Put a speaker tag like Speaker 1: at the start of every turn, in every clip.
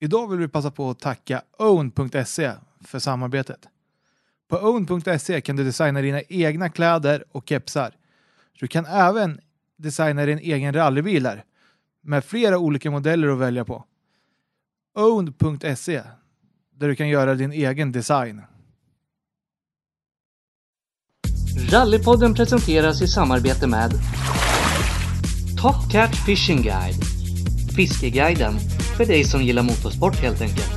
Speaker 1: Idag vill vi passa på att tacka own.se för samarbetet. På own.se kan du designa dina egna kläder och kepsar. Du kan även designa din egen rallybil här, med flera olika modeller att välja på. own.se där du kan göra din egen design.
Speaker 2: Rallypodden presenteras i samarbete med Top Cat Fishing Guide. Fiskeguiden för dig som gillar motorsport helt enkelt.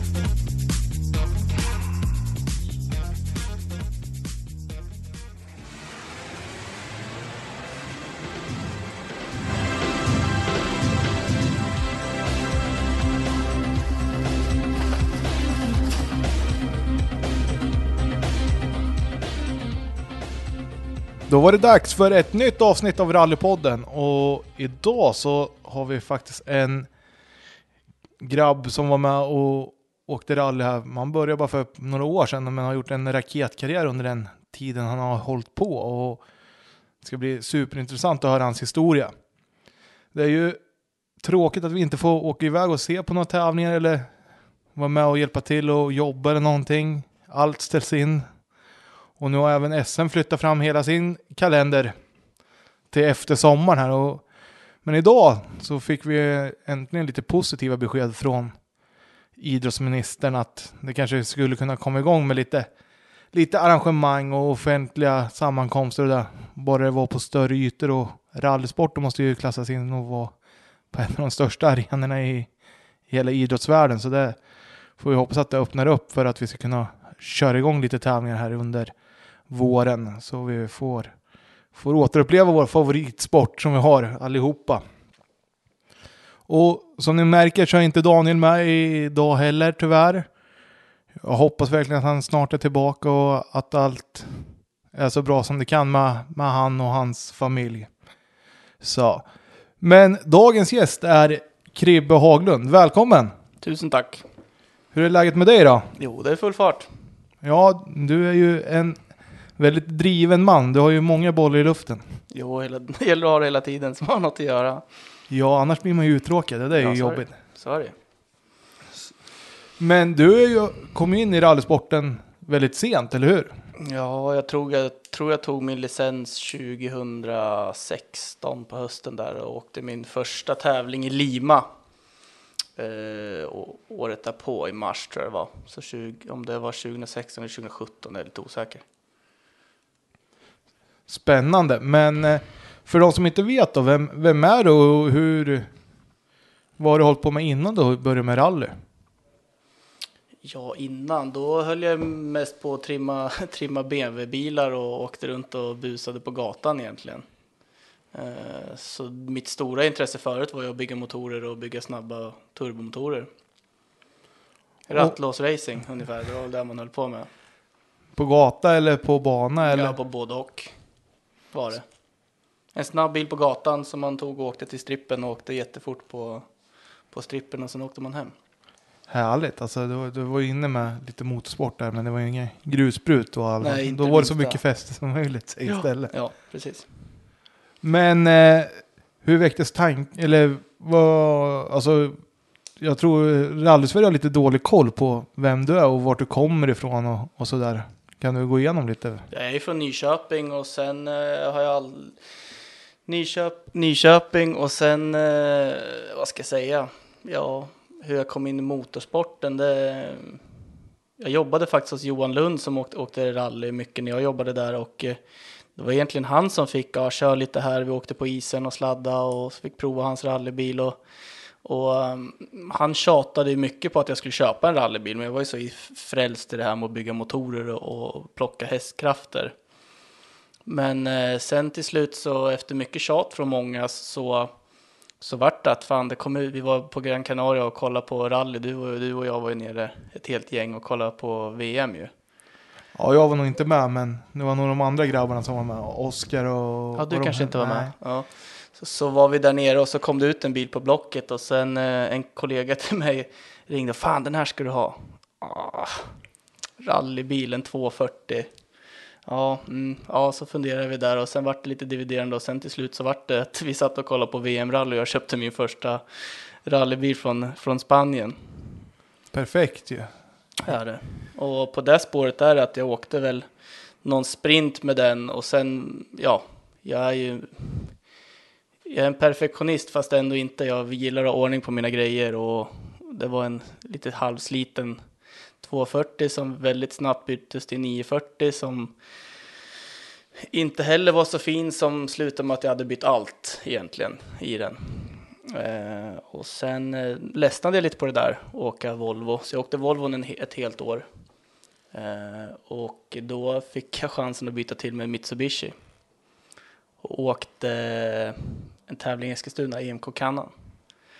Speaker 1: Då var det dags för ett nytt avsnitt av Rallypodden och idag så har vi faktiskt en grabb som var med och åkte rally här. Man började bara för några år sedan men har gjort en raketkarriär under den tiden han har hållit på och det ska bli superintressant att höra hans historia. Det är ju tråkigt att vi inte får åka iväg och se på några tävlingar eller vara med och hjälpa till och jobba eller någonting. Allt ställs in och nu har även SM flyttat fram hela sin kalender till efter sommaren här. Och, men idag så fick vi äntligen lite positiva besked från idrottsministern att det kanske skulle kunna komma igång med lite, lite arrangemang och offentliga sammankomster och där. Bara det var på större ytor och rallysporten måste ju klassas in och vara på en av de största arenorna i, i hela idrottsvärlden. Så det får vi hoppas att det öppnar upp för att vi ska kunna köra igång lite tävlingar här under våren så vi får, får återuppleva vår favoritsport som vi har allihopa. Och som ni märker så är inte Daniel med idag heller tyvärr. Jag hoppas verkligen att han snart är tillbaka och att allt är så bra som det kan med, med han och hans familj. Så. Men dagens gäst är Kribbe Haglund. Välkommen!
Speaker 3: Tusen tack.
Speaker 1: Hur är läget med dig då?
Speaker 3: Jo, det är full fart.
Speaker 1: Ja, du är ju en väldigt driven man. Du har ju många bollar i luften.
Speaker 3: Jo, hela, det gäller att ha det hela tiden som har något att göra.
Speaker 1: Ja, annars blir man ju uttråkad. Det där är
Speaker 3: Ja,
Speaker 1: ju
Speaker 3: så är det.
Speaker 1: jobbigt.
Speaker 3: Så är det
Speaker 1: Men du är ju, kom ju in i rallysporten väldigt sent, eller hur?
Speaker 3: Ja, jag tror jag, tror jag tog min licens 2016 på hösten där och åkte min första tävling i Lima. Eh, och året därpå i mars tror jag det var. Så 20, om det var 2016 eller 2017 är jag lite osäker.
Speaker 1: Spännande. Men eh, för de som inte vet då, vem, vem är du och hur... Vad har du hållit på med innan du började med rally?
Speaker 3: Ja, innan då höll jag mest på att trimma, trimma BMW-bilar och åkte runt och busade på gatan egentligen. Eh, Så mitt stora intresse förut var ju att bygga motorer och bygga snabba turbomotorer. Rattlåsracing ungefär, det var väl det man höll på med.
Speaker 1: På gata eller på bana? Eller?
Speaker 3: Ja, på både och var det. En snabb bil på gatan som man tog och åkte till strippen och åkte jättefort på, på strippen och sen åkte man hem.
Speaker 1: Härligt. Alltså, du, du var ju inne med lite motorsport där, men det var ju inget grusprut och allt.
Speaker 3: Nej, inte
Speaker 1: Då var det så
Speaker 3: minsta.
Speaker 1: mycket fester som möjligt istället.
Speaker 3: Ja, precis.
Speaker 1: Men eh, hur väcktes tanken, eller vad, alltså jag tror rally-Sverige har lite dålig koll på vem du är och vart du kommer ifrån och, och sådär. Kan du gå igenom lite?
Speaker 3: Jag är ju från Nyköping och sen eh, har jag all... Nyköp... Nyköping och sen, eh, vad ska jag säga, ja, hur jag kom in i motorsporten. Det... Jag jobbade faktiskt hos Johan Lund som åkte, åkte rally mycket när jag jobbade där och eh, det var egentligen han som fick, ja, kör lite här, vi åkte på isen och sladda och så fick prova hans rallybil och och um, han tjatade ju mycket på att jag skulle köpa en rallybil, men jag var ju så i- frälst i det här med att bygga motorer och, och plocka hästkrafter. Men eh, sen till slut så efter mycket tjat från många så, så vart det att fan, det kom ut, vi var på Gran Canaria och kollade på rally, du och, du och jag var ju nere ett helt gäng och kollade på VM ju.
Speaker 1: Ja, jag var nog inte med, men det var nog de andra grabbarna som var med. Oskar och...
Speaker 3: Ja, du
Speaker 1: och de-
Speaker 3: kanske inte var med.
Speaker 1: Nej.
Speaker 3: Ja. Så, så var vi där nere och så kom det ut en bil på Blocket och sen eh, en kollega till mig ringde och fan den här ska du ha. Ah, rallybilen 240. Ja, mm, ja, så funderade vi där och sen vart det lite dividerande och sen till slut så vart det att vi satt och kollade på VM-rally och jag köpte min första rallybil från, från Spanien.
Speaker 1: perfekt ju.
Speaker 3: Ja, det. Och på det spåret är det att jag åkte väl någon sprint med den och sen, ja, jag är ju jag är en perfektionist fast ändå inte. Jag gillar att ha ordning på mina grejer och det var en lite halvsliten 240 som väldigt snabbt byttes till 940 som inte heller var så fin som slutade med att jag hade bytt allt egentligen i den. Eh, och sen eh, ledsnade jag lite på det där, åka Volvo. Så jag åkte Volvon en, he- ett helt år. Eh, och då fick jag chansen att byta till med Mitsubishi. Och åkte eh, en tävling i Eskilstuna, E EMK Kannan.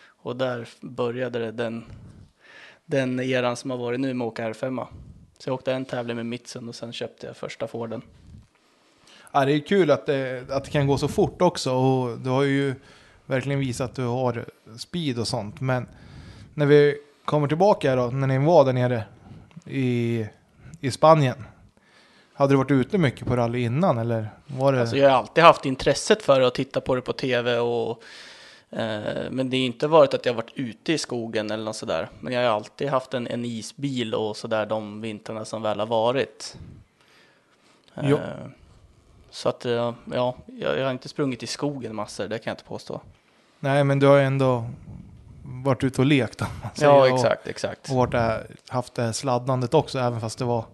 Speaker 3: Och där började det den, den eran som har varit nu med att åka R5. Så jag åkte en tävling med Mitsun och sen köpte jag första Forden.
Speaker 1: Ja, det är kul att det, att det kan gå så fort också och du har ju verkligen visat att du har speed och sånt. Men när vi kommer tillbaka här då, när ni var där nere i, i Spanien. Hade du varit ute mycket på rally innan eller var det?
Speaker 3: Alltså jag har alltid haft intresset för att titta på det på tv och eh, men det har inte varit att jag har varit ute i skogen eller något sådär. Men jag har alltid haft en, en isbil och sådär de vintrarna som väl har varit. Eh,
Speaker 1: Jo.
Speaker 3: Så att eh, ja, jag, jag har inte sprungit i skogen massor, det kan jag inte påstå.
Speaker 1: Nej, men du har ju ändå varit ute och lekt om man säger,
Speaker 3: Ja, exakt, exakt.
Speaker 1: Och, och varit det här, haft det här sladdandet också, även fast det var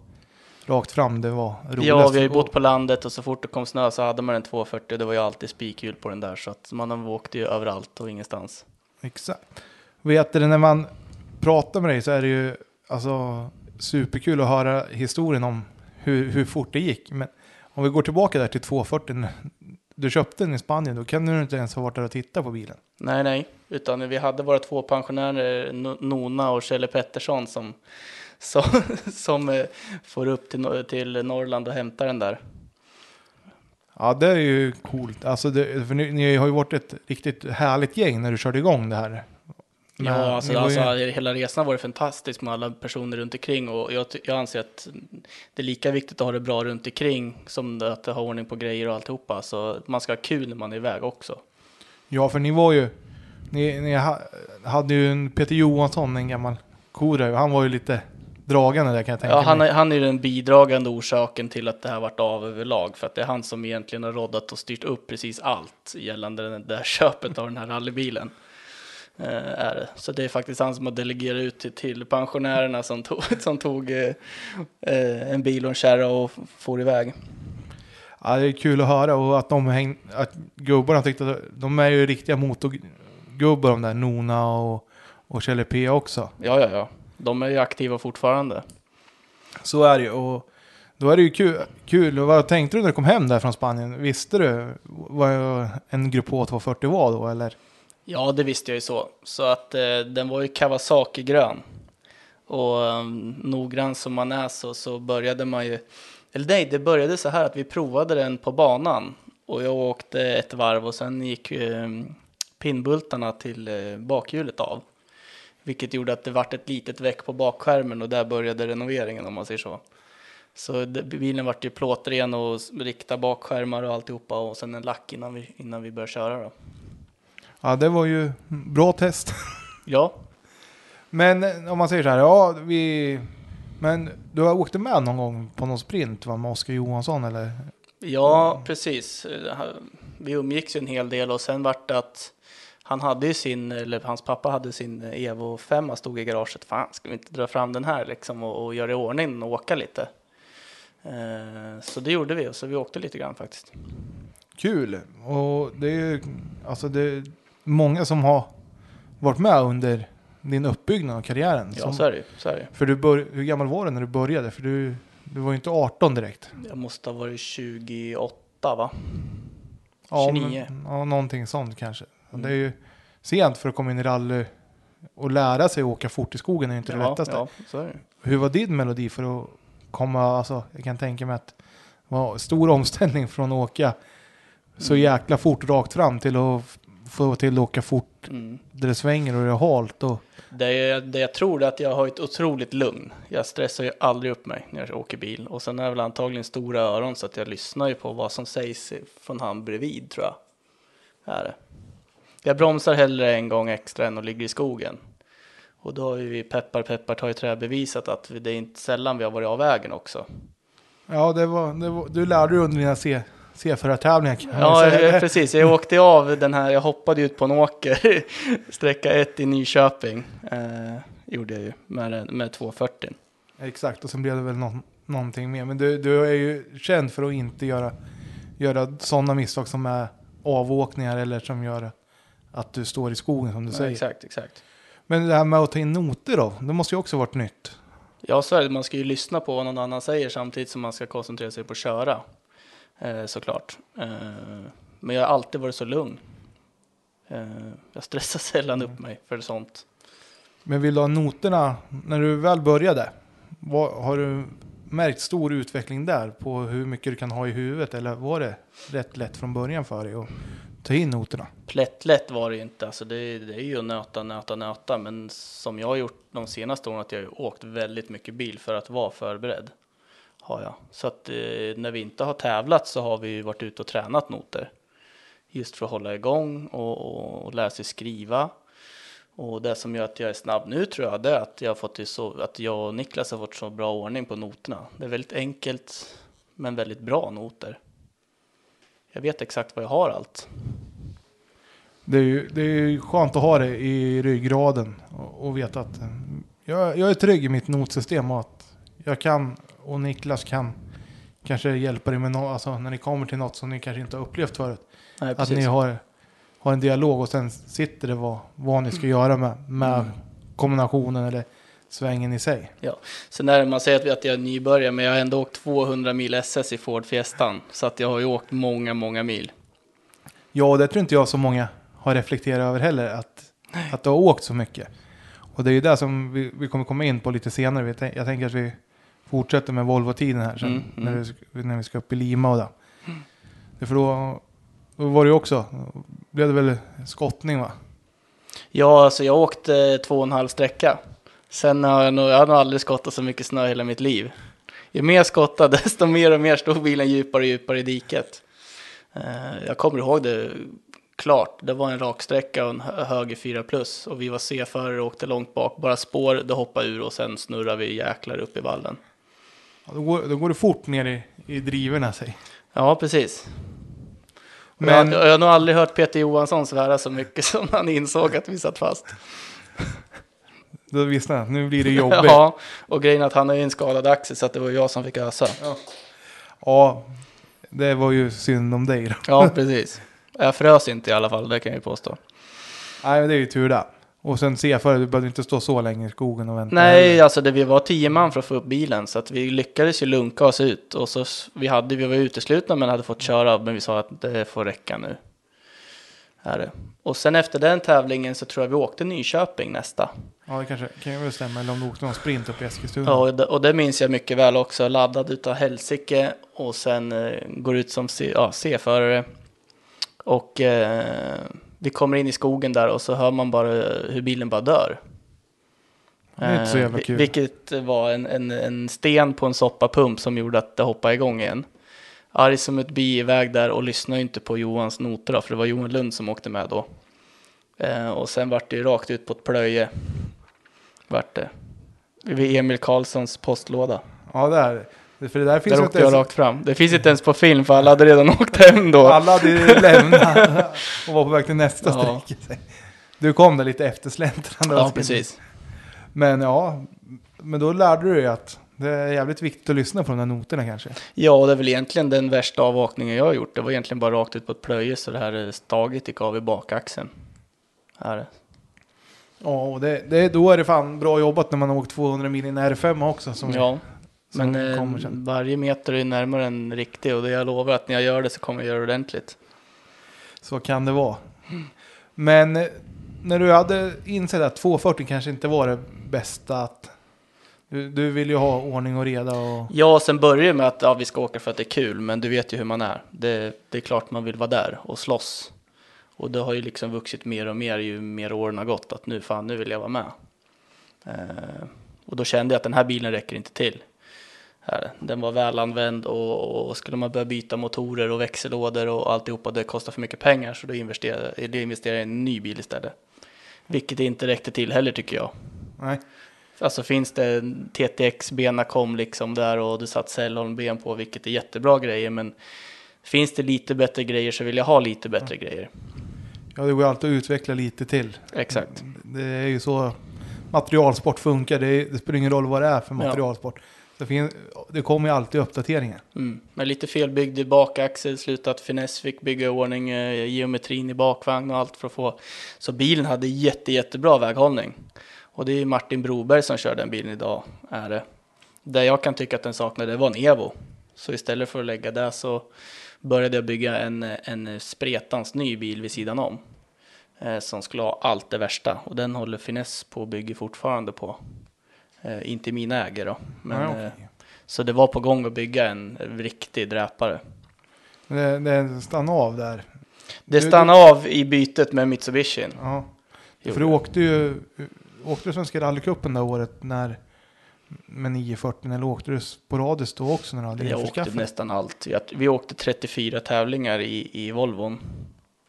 Speaker 1: rakt fram. Det var roligt.
Speaker 3: Ja, vi har ju bott på landet och så fort det kom snö så hade man en 240 och det var ju alltid spikhjul på den där så att man har- åkte ju överallt och ingenstans.
Speaker 1: Exakt. Vet du, när man pratar med dig så är det ju alltså, superkul att höra historien om hur, hur fort det gick. Men om vi går tillbaka där till 240, du köpte den i Spanien, då kan du inte ens ha varit där och tittat på bilen.
Speaker 3: Nej, nej, utan vi hade våra två pensionärer, N- Nona och Kjelle Pettersson, som, som, som eh, får upp till, Nor- till Norrland och hämtar den där.
Speaker 1: Ja, det är ju coolt. Alltså, det, för ni, ni har ju varit ett riktigt härligt gäng när du körde igång det här.
Speaker 3: Ja,
Speaker 1: Men
Speaker 3: alltså,
Speaker 1: ni var ju-
Speaker 3: alltså hela resan har varit fantastisk med alla personer runt omkring och jag, ty- jag anser att det är lika viktigt att ha det bra runt omkring som det att ha ordning på grejer och alltihopa. Så man ska ha kul när man är iväg också.
Speaker 1: Ja, för ni var ju... Ni, ni ha, hade ju en Peter Johansson, en gammal koröv. Han var ju lite dragande där kan jag tänka
Speaker 3: Ja, han,
Speaker 1: mig.
Speaker 3: är- han är den bidragande orsaken till att det här vart av överlag, för att det är han som egentligen har roddat och styrt upp precis allt gällande den- det här köpet av den här rallybilen. Eh, är det. Så det är faktiskt han som har delegerat ut till, till pensionärerna som tog, som tog eh, eh, en bil och en kärra och f- for iväg.
Speaker 1: Ja, det är kul att höra och att de häng, att gubbarna tyckte att de är ju riktiga motorgubbar de där Nona och, och Kjelle P också.
Speaker 3: Ja, ja, ja. De är ju aktiva fortfarande.
Speaker 1: Så är det ju och då är det ju kul. kul. Och vad tänkte du när du kom hem där från Spanien? Visste du vad en Grupp H240 var då eller?
Speaker 3: Ja, det visste jag ju så. Så att eh, den var ju Kawasaki-grön. Och eh, noggrann som man är så, så började man ju... Eller nej, det började så här att vi provade den på banan. Och jag åkte ett varv och sen gick eh, pinnbultarna till eh, bakhjulet av. Vilket gjorde att det vart ett litet väck på bakskärmen och där började renoveringen om man säger så. Så det, bilen vart ju plåtren och s- rikta bakskärmar och alltihopa och sen en lack innan vi, innan vi började köra då.
Speaker 1: Ja, det var ju bra test.
Speaker 3: Ja,
Speaker 1: Men eh, om man säger så här, ja vi... Men du har åkte med någon gång på någon sprint va, med Oskar Johansson eller?
Speaker 3: Ja, precis. Eh, han- Vi umgicks ju en hel del och sen vart det att han hade ju sin, eller hans pappa hade sin Evo 5 stod i garaget. Fan, ska vi inte dra fram den här liksom och, och göra i ordning den och åka lite? Eh, så det gjorde vi och så vi åkte lite grann faktiskt.
Speaker 1: Mm, Kul! Och det är ju alltså det är många som har varit med under din uppbyggnad av karriären.
Speaker 3: Ja,
Speaker 1: som,
Speaker 3: så är det ju. Så är det. ju.
Speaker 1: För du bör, hur gammal var du när du började? För du, du var ju inte 18 direkt.
Speaker 3: Jag måste ha varit 28 va?
Speaker 1: Ja,
Speaker 3: 29.
Speaker 1: Men, ja, någonting sånt kanske. Och Det är
Speaker 3: Mm.
Speaker 1: ju sent för att komma in i rally och lära sig att åka fort i skogen är ju inte det
Speaker 3: Ja,
Speaker 1: lättaste.
Speaker 3: ja, så är det. ju.
Speaker 1: Hur var din melodi för att komma, alltså jag kan tänka mig att det var en stor omställning från att åka så
Speaker 3: Mm.
Speaker 1: jäkla fort rakt fram till att f- få till att åka fort
Speaker 3: Mm.
Speaker 1: där det svänger och det är halt. Och,
Speaker 3: Det jag, det jag tror är att jag har ett otroligt lugn. Jag stressar ju aldrig upp mig när jag åker bil. Och sen har jag väl antagligen stora öron så att jag lyssnar ju på vad som sägs från han bredvid tror jag. Är det. Jag bromsar hellre en gång extra än att ligga i skogen. Och då har ju vi peppar peppar ta i trä bevisat att vi- det är inte sällan vi har varit av vägen också.
Speaker 1: Ja, det var, det var, du lärde dig under dina C- C-förartävlingar. kan man
Speaker 3: Ja,
Speaker 1: säga.
Speaker 3: eh, precis. Jag åkte ju av den här, jag hoppade ut på en åker, sträcka ett i Nyköping. Eh, gjorde jag ju med, den- med 240.
Speaker 1: Exakt, och sen blev det väl någon, någonting mer. Men du, du är ju känd för att inte göra, göra sådana misstag som är avåkningar eller som gör att du står i skogen som du
Speaker 3: Ja,
Speaker 1: säger.
Speaker 3: exakt, exakt.
Speaker 1: Men det här med att ta in noter då, det måste ju också varit nytt.
Speaker 3: Ja, så är det. Man ska ju lyssna på vad någon annan säger samtidigt som man ska koncentrera sig på att köra. Eh, såklart. Eh, men jag har alltid varit så lugn. Eh, jag stressar sällan upp mig för sånt.
Speaker 1: Men vill du ha noterna, när du väl började, vad, har du märkt stor utveckling där på hur mycket du kan ha i huvudet? Eller var det rätt lätt från början för dig att ta in noterna?
Speaker 3: Plättlätt var det ju inte. Alltså det, det är ju att nöta, nöta, nöta. Men som jag har gjort de senaste åren, att jag har ju åkt väldigt mycket bil för att vara förberedd. Har jag. Så att eh, när vi inte har tävlat så har vi ju varit ute och tränat noter. Just för att hålla igång och, och, och lära sig skriva. Och det som gör att jag är snabb nu tror jag, det är att jag, har fått det så, att jag och Niklas har fått så bra ordning på noterna. Det är väldigt enkelt, men väldigt bra noter. Jag vet exakt vad jag har allt.
Speaker 1: Det är, ju, det är ju skönt att ha det i ryggraden och, och veta att eh, jag, jag är trygg i mitt notsystem och att jag kan och Niklas kan kanske hjälpa dig med något, alltså när ni kommer till något som ni kanske inte har upplevt förut.
Speaker 3: Nej,
Speaker 1: Att ni har, har en dialog och sen sitter det vad, vad
Speaker 3: Mm.
Speaker 1: ni ska göra med, med kombinationen eller svängen i sig.
Speaker 3: Ja. Sen är det, man säger att, att jag är nybörjare, men jag har ändå åkt 200 mil SS i Ford Fiestan. Så att jag har ju åkt många, många mil.
Speaker 1: Ja, och det tror inte jag så många har reflekterat över heller, att, att du har åkt så mycket. Och det är ju det som vi, vi kommer komma in på lite senare. Vi tän- Jag tänker att vi fortsätter med Volvo-tiden här sen,
Speaker 3: Mm, mm.
Speaker 1: När, vi, sk- när vi ska upp i Lima och det. Det är För då, då var det ju också, blev det väl skottning va?
Speaker 3: Ja, alltså jag åkte två och en halv sträcka. Sen har jag nog, jag har nog aldrig skottat så mycket snö i hela mitt liv. Ju mer jag skottade, desto mer och mer stod bilen djupare och djupare i diket. Eh, Jag kommer ihåg det klart. Det var en raksträcka och en hö- höger 4 plus. Och vi var C-förare och åkte långt bak. Bara spår, det hoppade ur och sen snurrade vi jäklar upp i vallen.
Speaker 1: Ja, Då går, då går det fort ner i, i drivorna sig.
Speaker 3: Ja, precis.
Speaker 1: Men-
Speaker 3: Men... Jag, jag har nog aldrig hört Peter Johansson svära så mycket som han insåg att vi satt fast.
Speaker 1: Då visste jag, nu blir det jobbigt.
Speaker 3: Ja, och grejen är att han har ju en skadad axel så att det var jag som fick ösa.
Speaker 1: Ja, det var ju synd om dig då.
Speaker 3: Ja, precis. Jag frös inte i alla fall, det kan jag ju påstå.
Speaker 1: Nej, men det är ju tur det. Och sen se för du behövde inte stå så länge i skogen och vänta.
Speaker 3: Nej, alltså det, vi var tio man för att få upp bilen så att vi lyckades ju lunka oss ut. Och så s- vi, hade, vi var uteslutna men hade fått köra men vi sa att det får räcka nu. Är det. Och sen efter den tävlingen så tror jag vi åkte Nyköping nästa.
Speaker 1: Ja, det kanske kan ju väl stämma. Eller om du åkte någon sprint upp i Eskilstuna.
Speaker 3: Ja, och det, och det minns jag mycket väl också. Laddad utav helsike och sen eh, går ut som C- ja, C-förare. Och eh, vi kommer in i skogen där och så hör man bara hur bilen bara dör.
Speaker 1: Det är inte så
Speaker 3: Eh,
Speaker 1: jävla
Speaker 3: vi-
Speaker 1: kul.
Speaker 3: Vilket var en, en, en sten på en soppapump som gjorde att det hoppade igång igen. Arg som ett bi iväg där och lyssnade ju inte på Johans noter då, för det var Johan Lund som åkte med då. Eh, och sen vart det ju rakt ut på ett plöje. Vart det. Vid Emil Karlssons postlåda.
Speaker 1: Ja, där. För det där finns
Speaker 3: där
Speaker 1: ju
Speaker 3: åkte
Speaker 1: inte ens-
Speaker 3: jag rakt fram. Det finns inte ens på film för alla hade redan åkt hem då.
Speaker 1: Alla hade ju lämnat och var på väg till nästa
Speaker 3: Ja.
Speaker 1: sträcka. Du kom där lite eftersläntrande.
Speaker 3: ja, precis.
Speaker 1: Men ja, men då lärde du dig att det är jävligt viktigt att lyssna på de där noterna kanske.
Speaker 3: Ja, och det är väl egentligen den värsta avvakningen jag har gjort. Det var egentligen bara rakt ut på ett plöje så det här eh, staget gick av i bakaxeln. Här. är det.
Speaker 1: Ja, och det, det, då är det fan bra jobbat när man har åkt 200 mil i en R5 också. Som
Speaker 3: ja,
Speaker 1: som
Speaker 3: men eh,
Speaker 1: kommer sen.
Speaker 3: varje meter är närmare en riktig och det jag lovar att när jag gör det så kommer jag göra det ordentligt.
Speaker 1: Så kan det vara. Men eh, när du hade insett att 240 kanske inte var det bästa att... Du, du vill ju ha ordning och reda och...
Speaker 3: Ja, sen börjar det med att ja, vi ska åka för att det är kul, men du vet ju hur man är. Det, det är klart man vill vara där och slåss. Och det har ju liksom vuxit mer och mer ju mer åren har gått, att nu fan, nu vill jag vara med. Eh, och då kände jag att den här bilen räcker inte till. Här, den var välanvänd och, och skulle man börja byta motorer och växellådor och alltihopa, det kostar för mycket pengar, så då investerade, då investerade jag i en ny bil istället. Vilket inte räckte till heller tycker jag.
Speaker 1: Nej.
Speaker 3: Alltså finns det en TTX, bena kom liksom där och du satt Sällholm-ben på, vilket är jättebra grejer, men finns det lite bättre grejer så vill jag ha lite bättre grejer.
Speaker 1: Ja, det går alltid att utveckla lite till.
Speaker 3: Exakt.
Speaker 1: Det är ju så materialsport funkar. Det, är, det spelar ingen roll vad det är för
Speaker 3: Ja.
Speaker 1: materialsport. Det, finns, det kommer ju alltid uppdateringar.
Speaker 3: Mm. Men lite felbyggd i bakaxel, slutat finess, fick bygga i ordning eh, geometrin i bakvagn och allt för att få. Så bilen hade jätte, jättebra väghållning. Och det är ju Martin Broberg som kör den bilen idag, är det. Där jag kan tycka att den saknade var en Evo. Så istället för att lägga det så började jag bygga en, en spretans ny bil vid sidan om. Eh, som skulle ha allt det värsta. Och den håller finess på och bygger fortfarande på. Eh, inte i mina ägor då. Men,
Speaker 1: Ja, okej.
Speaker 3: eh, så det var på gång att bygga en riktig dräpare.
Speaker 1: Men det, det stannar av där.
Speaker 3: Det
Speaker 1: Du-
Speaker 3: stannade av i bytet med Mitsubishi.
Speaker 1: Ja. För du åkte ju åkte du Svenska rallycupen det här året när, med 940 eller åkte du sporadiskt då också när du hade
Speaker 3: jag åkte
Speaker 1: införskaffat?
Speaker 3: nästan allt. Jag- Vi åkte 34 tävlingar i, i Volvon.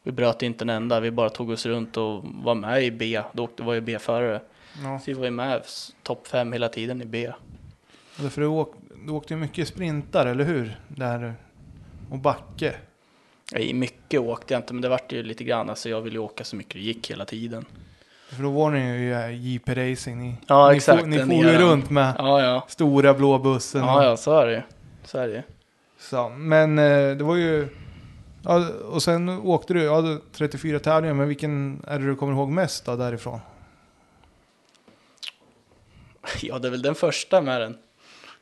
Speaker 3: Vi bröt inte en enda, vi bara tog oss runt och var med i B. Då åkte, var jag B-förare.
Speaker 1: Ja.
Speaker 3: Så vi var ju med s- topp fem hela tiden i B.
Speaker 1: Eller För du, åk, du åkte ju mycket sprintar, eller hur? Där, och backe.
Speaker 3: I mycket åkte jag inte, men det vart ju lite grann. Alltså jag ville ju åka så mycket det gick hela tiden.
Speaker 1: För då var ni ju eh, JP Racing. Ni,
Speaker 3: Ja,
Speaker 1: ni,
Speaker 3: exakt,
Speaker 1: for, ni
Speaker 3: den
Speaker 1: for ju
Speaker 3: eran.
Speaker 1: runt med
Speaker 3: Ja, ja.
Speaker 1: stora blå bussen.
Speaker 3: Ja,
Speaker 1: och-
Speaker 3: ja, så är det ju. Så är det ju.
Speaker 1: Så, men eh, det var ju... Ja, och sen åkte du, ja, du- 34 tävlingar, men vilken är det du kommer ihåg mest då, därifrån?
Speaker 3: Ja, det är väl den första med den.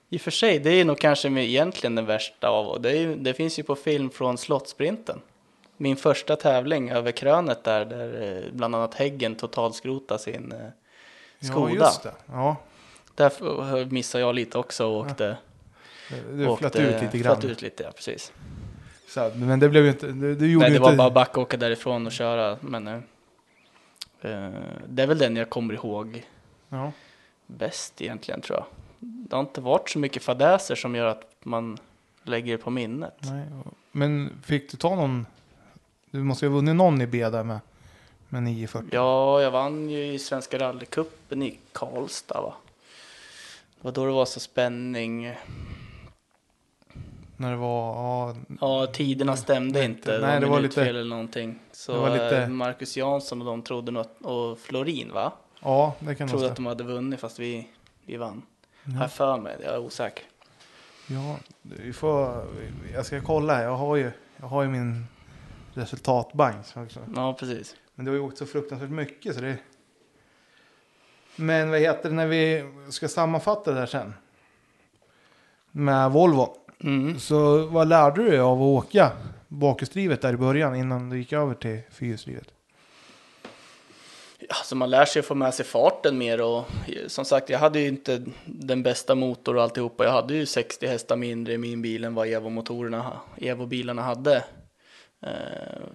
Speaker 3: I och för sig, det är nog kanske med- egentligen den värsta av. Och det, är, ju- det finns ju på film från Slottsprinten. Min första tävling över krönet där, där eh, bland annat Häggen totalskrotar sin eh, Skoda.
Speaker 1: Ja, just det. Ja,
Speaker 3: Där f- ö, missade jag lite också och åkte,
Speaker 1: Ah, du flöt
Speaker 3: åkte
Speaker 1: ut lite
Speaker 3: flöt
Speaker 1: grann.
Speaker 3: eh, ut lite, ja precis.
Speaker 1: Så, men det blev ju inte... Du, du gjorde
Speaker 3: Nej,
Speaker 1: ju inte...
Speaker 3: det var bara att backa därifrån och köra. Men eh, eh, det är väl den jag kommer ihåg
Speaker 1: Ja.
Speaker 3: bäst egentligen tror jag. Det har inte varit så mycket fadäser som gör att man lägger det på minnet.
Speaker 1: Nej, och- men fick du ta någon... Du måste ju ha vunnit någon i B där med, med 940.
Speaker 3: Ja, jag vann ju i Svenska rallycupen i Karlstad va. Det var då det var så spänning.
Speaker 1: När det var... Ja,
Speaker 3: Ja, tiderna stämde
Speaker 1: Nej,
Speaker 3: inte.
Speaker 1: nej,
Speaker 3: det
Speaker 1: det var
Speaker 3: var
Speaker 1: lite-
Speaker 3: minutfel eller någonting. Så
Speaker 1: det var lite-
Speaker 3: eh, Marcus Jansson och de trodde något, och Florin va?
Speaker 1: ja det kan nog
Speaker 3: Trodde att
Speaker 1: stämma.
Speaker 3: de hade vunnit fast vi, vi vann.
Speaker 1: Ja.
Speaker 3: Har jag för mig, jag är osäker.
Speaker 1: Ja, vi får... Jag ska kolla här. Jag har ju, jag har ju min resultatbank. Så också.
Speaker 3: Ja, precis.
Speaker 1: Men det har ju åkt så fruktansvärt mycket så det... Men vad heter det när vi ska sammanfatta det här sen? Med Volvo.
Speaker 3: Mm.
Speaker 1: Så vad lärde du dig av att åka bakhjulsdrivet där i början innan du gick över till fyrhjulsdrivet?
Speaker 3: Alltså man lär sig att få med sig farten mer och eh, som sagt jag hade ju inte den bästa motor och alltihopa. Jag hade ju 60 hästar mindre i min bil än vad Evo-motorerna, ha- Evo-bilarna hade. Eh,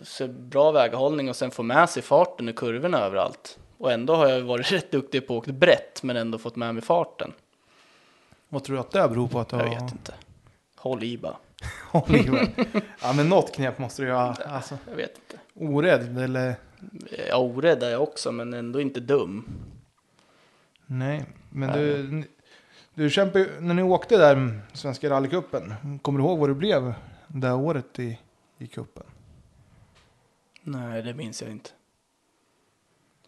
Speaker 3: Så bra väghållning och sen få med sig farten och kurvorna överallt. Och ändå har jag varit rätt duktig på att åka brett men ändå fått med mig farten.
Speaker 1: Vad tror du att det beror på att du
Speaker 3: Jag vet inte. Håll i bara.
Speaker 1: Oliver? ja men något knep måste du ju ha. Alltså,
Speaker 3: Jag vet inte.
Speaker 1: orädd eller?
Speaker 3: Jag är orädd är jag också men ändå inte dum.
Speaker 1: Nej, men du... Du kämpade ju- när ni åkte där mm, Svenska rallycupen. Kommer du ihåg vad du blev det här året i, i cupen?
Speaker 3: Nej det minns jag inte.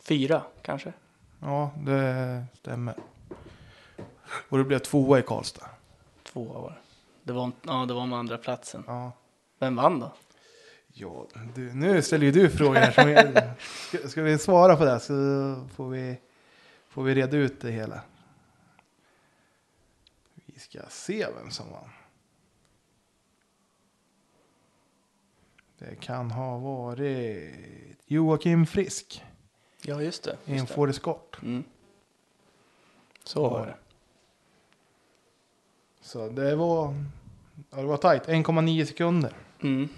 Speaker 3: Fyra kanske?
Speaker 1: Ja, det stämmer. Och det blev tvåa i Karlstad.
Speaker 3: Två var det. det. Var, ja, det var med andra platsen.
Speaker 1: Ja.
Speaker 3: Vem vann då?
Speaker 1: Ja, du, nu ställer ju du frågor här. Som jag, ska, ska vi svara på det här så får vi, får vi reda ut det hela. Vi ska se vem som vann. Det kan ha varit Joakim Frisk
Speaker 3: Ja, just det.
Speaker 1: i en
Speaker 3: Just det.
Speaker 1: Ford Escort.
Speaker 3: Mm. Så var det.
Speaker 1: Så det var, ja, det var tajt, 1,9 sekunder.
Speaker 3: Mm.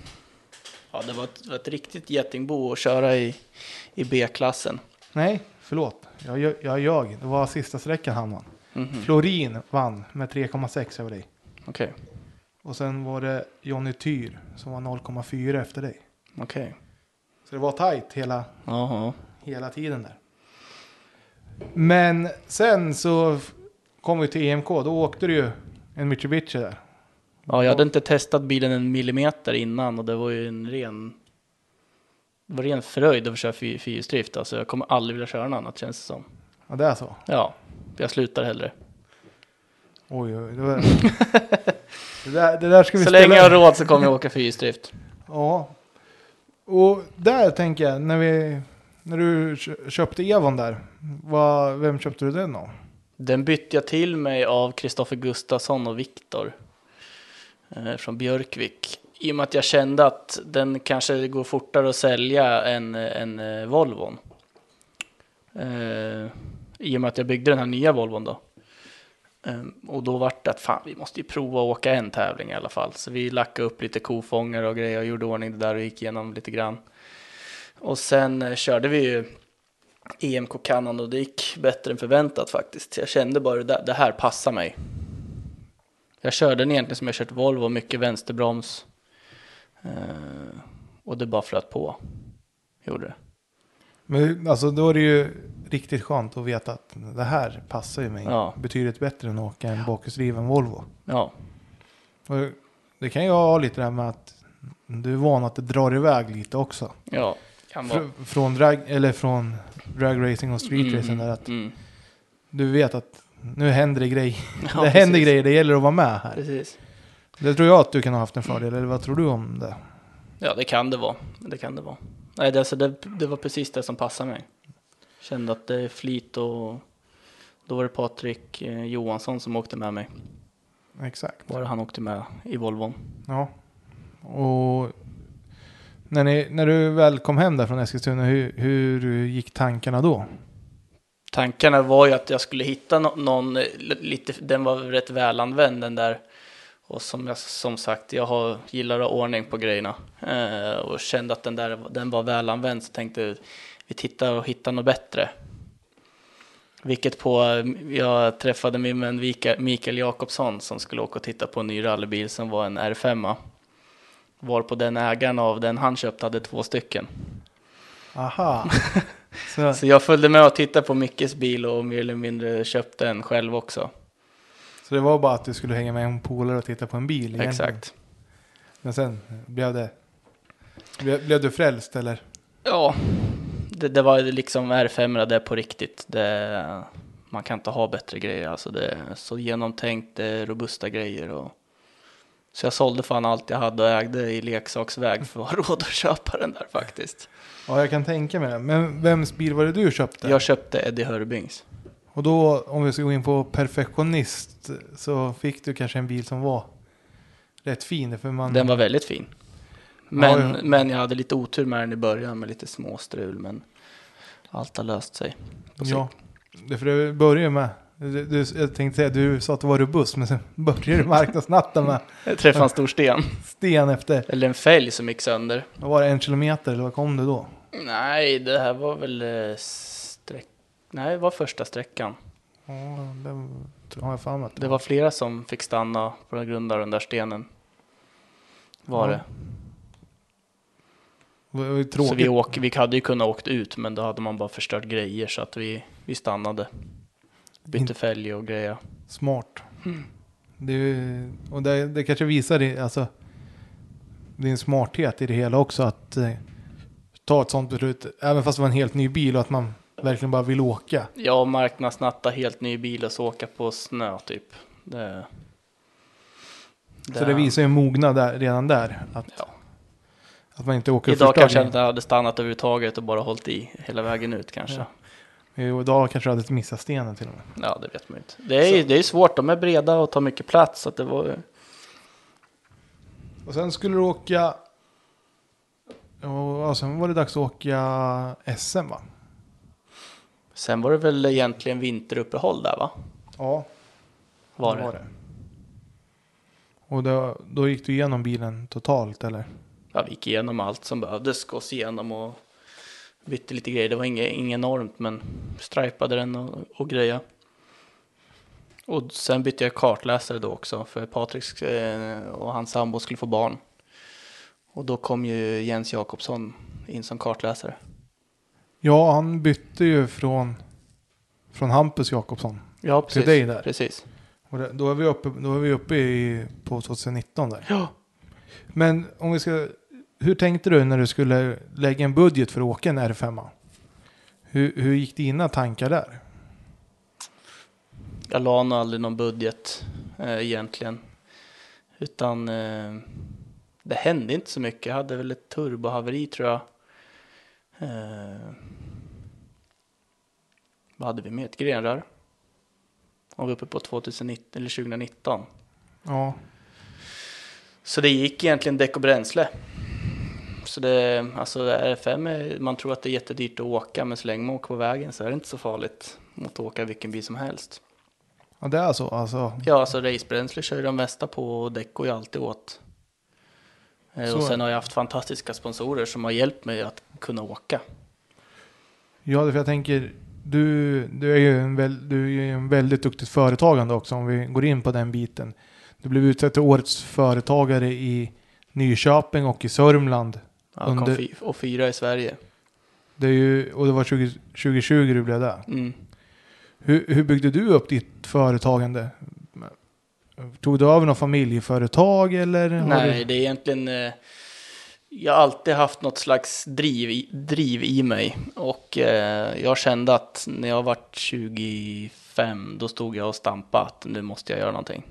Speaker 3: Ja, det var ett, det var ett riktigt getingbo att köra i, i B-klassen.
Speaker 1: Nej, förlåt. Jag, jag, jag ljög. Det var sista sträckan han vann.
Speaker 3: Mhm.
Speaker 1: Florin vann med 3,6 över dig.
Speaker 3: Okej,
Speaker 1: Och sen var det Johnny Tyr som var 0,4 efter dig.
Speaker 3: okej.
Speaker 1: Så det var tajt hela,
Speaker 3: Jaha.
Speaker 1: hela tiden där. Men sen så f- kom vi till EMK, då åkte det ju en Mitsubishi där.
Speaker 3: Ja, jag hade inte testat bilen en millimeter innan och det var ju en ren... Det var ren fröjd att försöka fyr- fyrhjulsdrift. Alltså jag kommer aldrig vilja köra något annat känns det som.
Speaker 1: Ja, det är så.
Speaker 3: Ja, jag slutar hellre.
Speaker 1: Oj, oj, det, var... det, där, det där ska vi
Speaker 3: Så
Speaker 1: ställa
Speaker 3: länge jag har råd så kommer jag åka fyrhjulsdrift.
Speaker 1: Ja. Och där tänker jag, när, vi, när du kö- köpte Evon där, vad, vem köpte du den av?
Speaker 3: Den bytte jag till mig av Kristoffer Gustafsson och Viktor eh, från Björkvik. I och med att jag kände att den kanske går fortare att sälja än, eh, än eh, Volvon. Eh, I och med att jag byggde den här nya Volvon då. Ehm, och då vart det att fan, vi måste ju prova att åka en tävling i alla fall. Så vi lackade upp lite kofångare och grejer och gjorde ordning det där och gick igenom lite grann. Och sen eh, körde vi ju EMK Canon och det gick bättre än förväntat faktiskt. Jag kände bara det, där, det här passar mig. Jag körde den egentligen som jag kört Volvo, mycket vänsterbroms. Eh, och det bara flöt på. Gjorde det.
Speaker 1: Men alltså då är det ju riktigt skönt att veta att det här passar ju mig
Speaker 3: Ja.
Speaker 1: betydligt bättre än att åka en bakhjulsdriven Volvo.
Speaker 3: Ja,
Speaker 1: Och det kan ju ha lite det här med att du är van att det drar iväg lite också.
Speaker 3: ja. Kan vara.
Speaker 1: Fr- från, drag, eller från drag racing och street racing där att
Speaker 3: mm.
Speaker 1: du vet att nu händer det grejer.
Speaker 3: Ja,
Speaker 1: det händer
Speaker 3: precis.
Speaker 1: grejer, det gäller att vara med här.
Speaker 3: Precis.
Speaker 1: Det tror jag att du kan ha haft en fördel, eller vad tror du om det?
Speaker 3: Ja, det kan det vara. Det kan det vara. Nej, det, alltså, det, det var precis det som passade mig. Kände att det är flit och då var det Patrik eh, Johansson som åkte med mig.
Speaker 1: Exakt.
Speaker 3: Var det han åkte med i Volvon?
Speaker 1: Ja. Och när, ni, när du väl kom hem där från Eskilstuna, hur, hur gick tankarna då?
Speaker 3: Tankarna var ju att jag skulle hitta nå- någon, eh, li- lite, den var rätt välanvänd den där. Och som, jag, som sagt, jag har, gillar att ha ordning på grejerna. Eh, och kände att den där den var välanvänd så tänkte jag, vi tittar och hittar något bättre. Vilket på, eh, jag träffade min vän Vika- Mikael Jakobsson som skulle åka och titta på en ny rallybil som var en R5. Var på den ägaren av den han köpte hade två stycken.
Speaker 1: Aha. Så,
Speaker 3: Så jag följde med och tittade på Mickes bil och mer eller mindre köpte en själv också.
Speaker 1: så det var bara att du skulle hänga med en polare och titta på en bil? egentligen.
Speaker 3: Exakt.
Speaker 1: Men sen blev det... Blev, blev du frälst eller?
Speaker 3: Ja, det, det var ju liksom R5 det är på riktigt. Det, man kan inte ha bättre grejer. Alltså det är så genomtänkt, det är robusta grejer. Och, så jag sålde fan allt jag hade och ägde i leksaksväg för att ha råd att köpa den där faktiskt.
Speaker 1: Ja, jag kan tänka mig det. Men vems bil var det du köpte?
Speaker 3: Jag köpte Eddie Hörbings.
Speaker 1: Och då, om vi ska gå in på perfektionist, så fick du kanske en bil som var rätt fin. För man,
Speaker 3: Den var väldigt fin. Men,
Speaker 1: Mm. Ja, ja.
Speaker 3: men jag hade lite otur med den i början med lite småstrul. Men allt har löst sig. på sikt.
Speaker 1: Ja, det för det börjar ju med. Du, du, jag tänkte säga, du sa att du var robust, men sen började du marknadsnatten med
Speaker 3: Jag träffade en stor sten.
Speaker 1: sten efter,
Speaker 3: Eller en fälg som gick sönder.
Speaker 1: vad var det, en kilometer eller vad kom du då?
Speaker 3: Nej, det här var väl eh, sträck... Nej, det var första sträckan.
Speaker 1: Ja, det har jag för mig att
Speaker 3: Det var flera som fick stanna på grund av den där stenen. Var
Speaker 1: Ja,
Speaker 3: det.
Speaker 1: var. Det var ju
Speaker 3: Så vi,
Speaker 1: tråkigt.
Speaker 3: åk, vi hade ju kunnat åkt ut, men då hade man bara förstört grejer så att vi, vi stannade. Bytte
Speaker 1: Inte
Speaker 3: fälg och grejer.
Speaker 1: Smart. Det, är ju- och det, det kanske visar din, alltså, din smarthet i det hela också, att eh, ta ett sånt beslut, även fast det var en helt ny bil och att man verkligen bara vill åka.
Speaker 3: Jag marknadsnatta helt ny bil och så åka på snö typ. Det,
Speaker 1: Så det visar ju en mognad där, redan där, att,
Speaker 3: Ja.
Speaker 1: att man inte åker och
Speaker 3: Idag
Speaker 1: förstör
Speaker 3: kanske
Speaker 1: grejer.
Speaker 3: jag inte hade stannat överhuvudtaget och bara hållit i hela vägen ut kanske.
Speaker 1: Ja. Jo, idag kanske du hade missat stenen till och med.
Speaker 3: Ja, det vet man ju inte. Det är, ju- det är svårt, de är breda och tar mycket plats. Så att det var,
Speaker 1: Och sen skulle du åka... Ja, sen var det dags att åka SM va?
Speaker 3: sen var det väl egentligen vinteruppehåll där va?
Speaker 1: Ja,
Speaker 3: Var det?
Speaker 1: Och då, då gick du igenom bilen totalt eller?
Speaker 3: Ja, vi gick igenom allt som behövdes gås igenom och bytte lite grejer. Det var inget, inget enormt, men stripade den och, och greja. Och sen bytte jag kartläsare då också, för Patrik eh, och hans sambo skulle få barn. Och då kom ju Jens Jakobsson in som kartläsare.
Speaker 1: Ja, han bytte ju från, från Hampus Jakobsson.
Speaker 3: Ja,
Speaker 1: Till
Speaker 3: precis.
Speaker 1: dig där.
Speaker 3: Precis.
Speaker 1: Och det, då är vi uppe, då är vi uppe i, på 2019 där.
Speaker 3: Ja.
Speaker 1: Men om vi ska, hur tänkte du när du skulle lägga en budget för att åka en R5? Hur, hur gick dina tankar där?
Speaker 3: Jag la nog aldrig någon budget eh, egentligen. Utan eh, det hände inte så mycket. Jag hade väl ett turbohaveri tror jag. Eh, vad hade vi med? Ett grenrör. Om vi är uppe på 2019 eller 2019.
Speaker 1: Ja,
Speaker 3: Så det gick egentligen däck och bränsle. Så det, alltså R5, är, man tror att det är jättedyrt att åka, men så länge man åker på vägen så är det inte så farligt mot att åka vilken bil som helst.
Speaker 1: ja det är så alltså.
Speaker 3: Ja, alltså racebränsle kör ju de mesta på och däck går ju alltid åt. Eh,
Speaker 1: Så
Speaker 3: Och
Speaker 1: är
Speaker 3: sen
Speaker 1: det.
Speaker 3: har jag haft fantastiska sponsorer som har hjälpt mig att kunna åka.
Speaker 1: Ja, för jag tänker, du, du, är ju en väl, du är ju en väldigt duktigt företagande också om vi går in på den biten. Du blev utsedd till årets företagare i Nyköping och i Sörmland.
Speaker 3: Ja, kom
Speaker 1: Under-
Speaker 3: fy- och fyra i Sverige.
Speaker 1: Det är ju, och det var 20, 2020 du blev där.
Speaker 3: Mm.
Speaker 1: Hur, hur byggde du upp ditt företagande? Tog du över något familjeföretag eller? har
Speaker 3: Nej,
Speaker 1: Du,
Speaker 3: det är egentligen... eh, Jag har alltid haft något slags driv i, driv i mig. Och eh, jag kände att när jag var 25, då stod jag och stampade att nu måste jag göra någonting.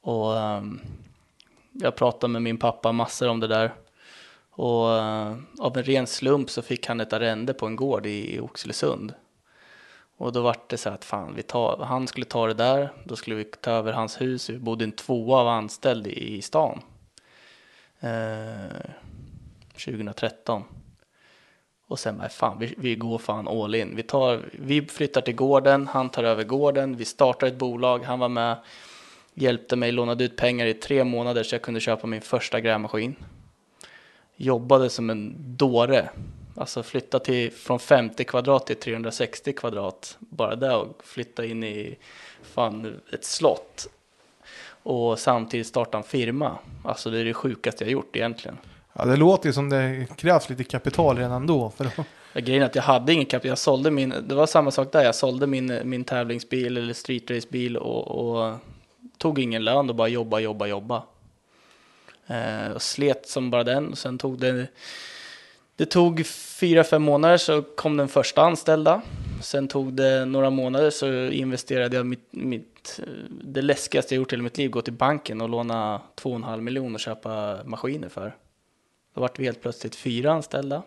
Speaker 3: Och ehm, jag pratade med min pappa massor om det där. Och eh, av en ren slump så fick han ett arrende på en gård i, i Oxelösund. Och då var det så här att fan, vi tar, han skulle ta det där, då skulle vi ta över hans hus. Vi bodde i en tvåa och var anställd i, i stan. Eh, 2013. Och sen bara, fan, vi, vi går fan all in. Vi, tar, vi flyttar till gården, han tar över gården, vi startar ett bolag, han var med, hjälpte mig, lånade ut pengar i tre månader så jag kunde köpa min första grävmaskin. Jobbade som en dåre, alltså flytta till, från 50 kvadrat till 360 kvadrat, bara där och flytta in i fan ett slott. Och samtidigt starta en firma, alltså det är det sjukaste jag gjort egentligen.
Speaker 1: ja, det låter ju som det krävs lite kapital redan då. För att,
Speaker 3: Ja, Grejen är att jag hade ingen kapital. Jag sålde min, det var samma sak där. Jag sålde min, min tävlingsbil eller streetracebil och, och tog ingen lön och bara jobba, jobba, jobba. Eh, och slet som bara den. Och sen tog det, det tog fyra, fem månader så kom den första anställda. Sen tog det några månader så investerade jag mitt, mitt eh, det läskigaste jag gjort i hela mitt liv, gå till banken och låna 2,5 miljoner och köpa maskiner för. Då vart vi helt plötsligt fyra anställda.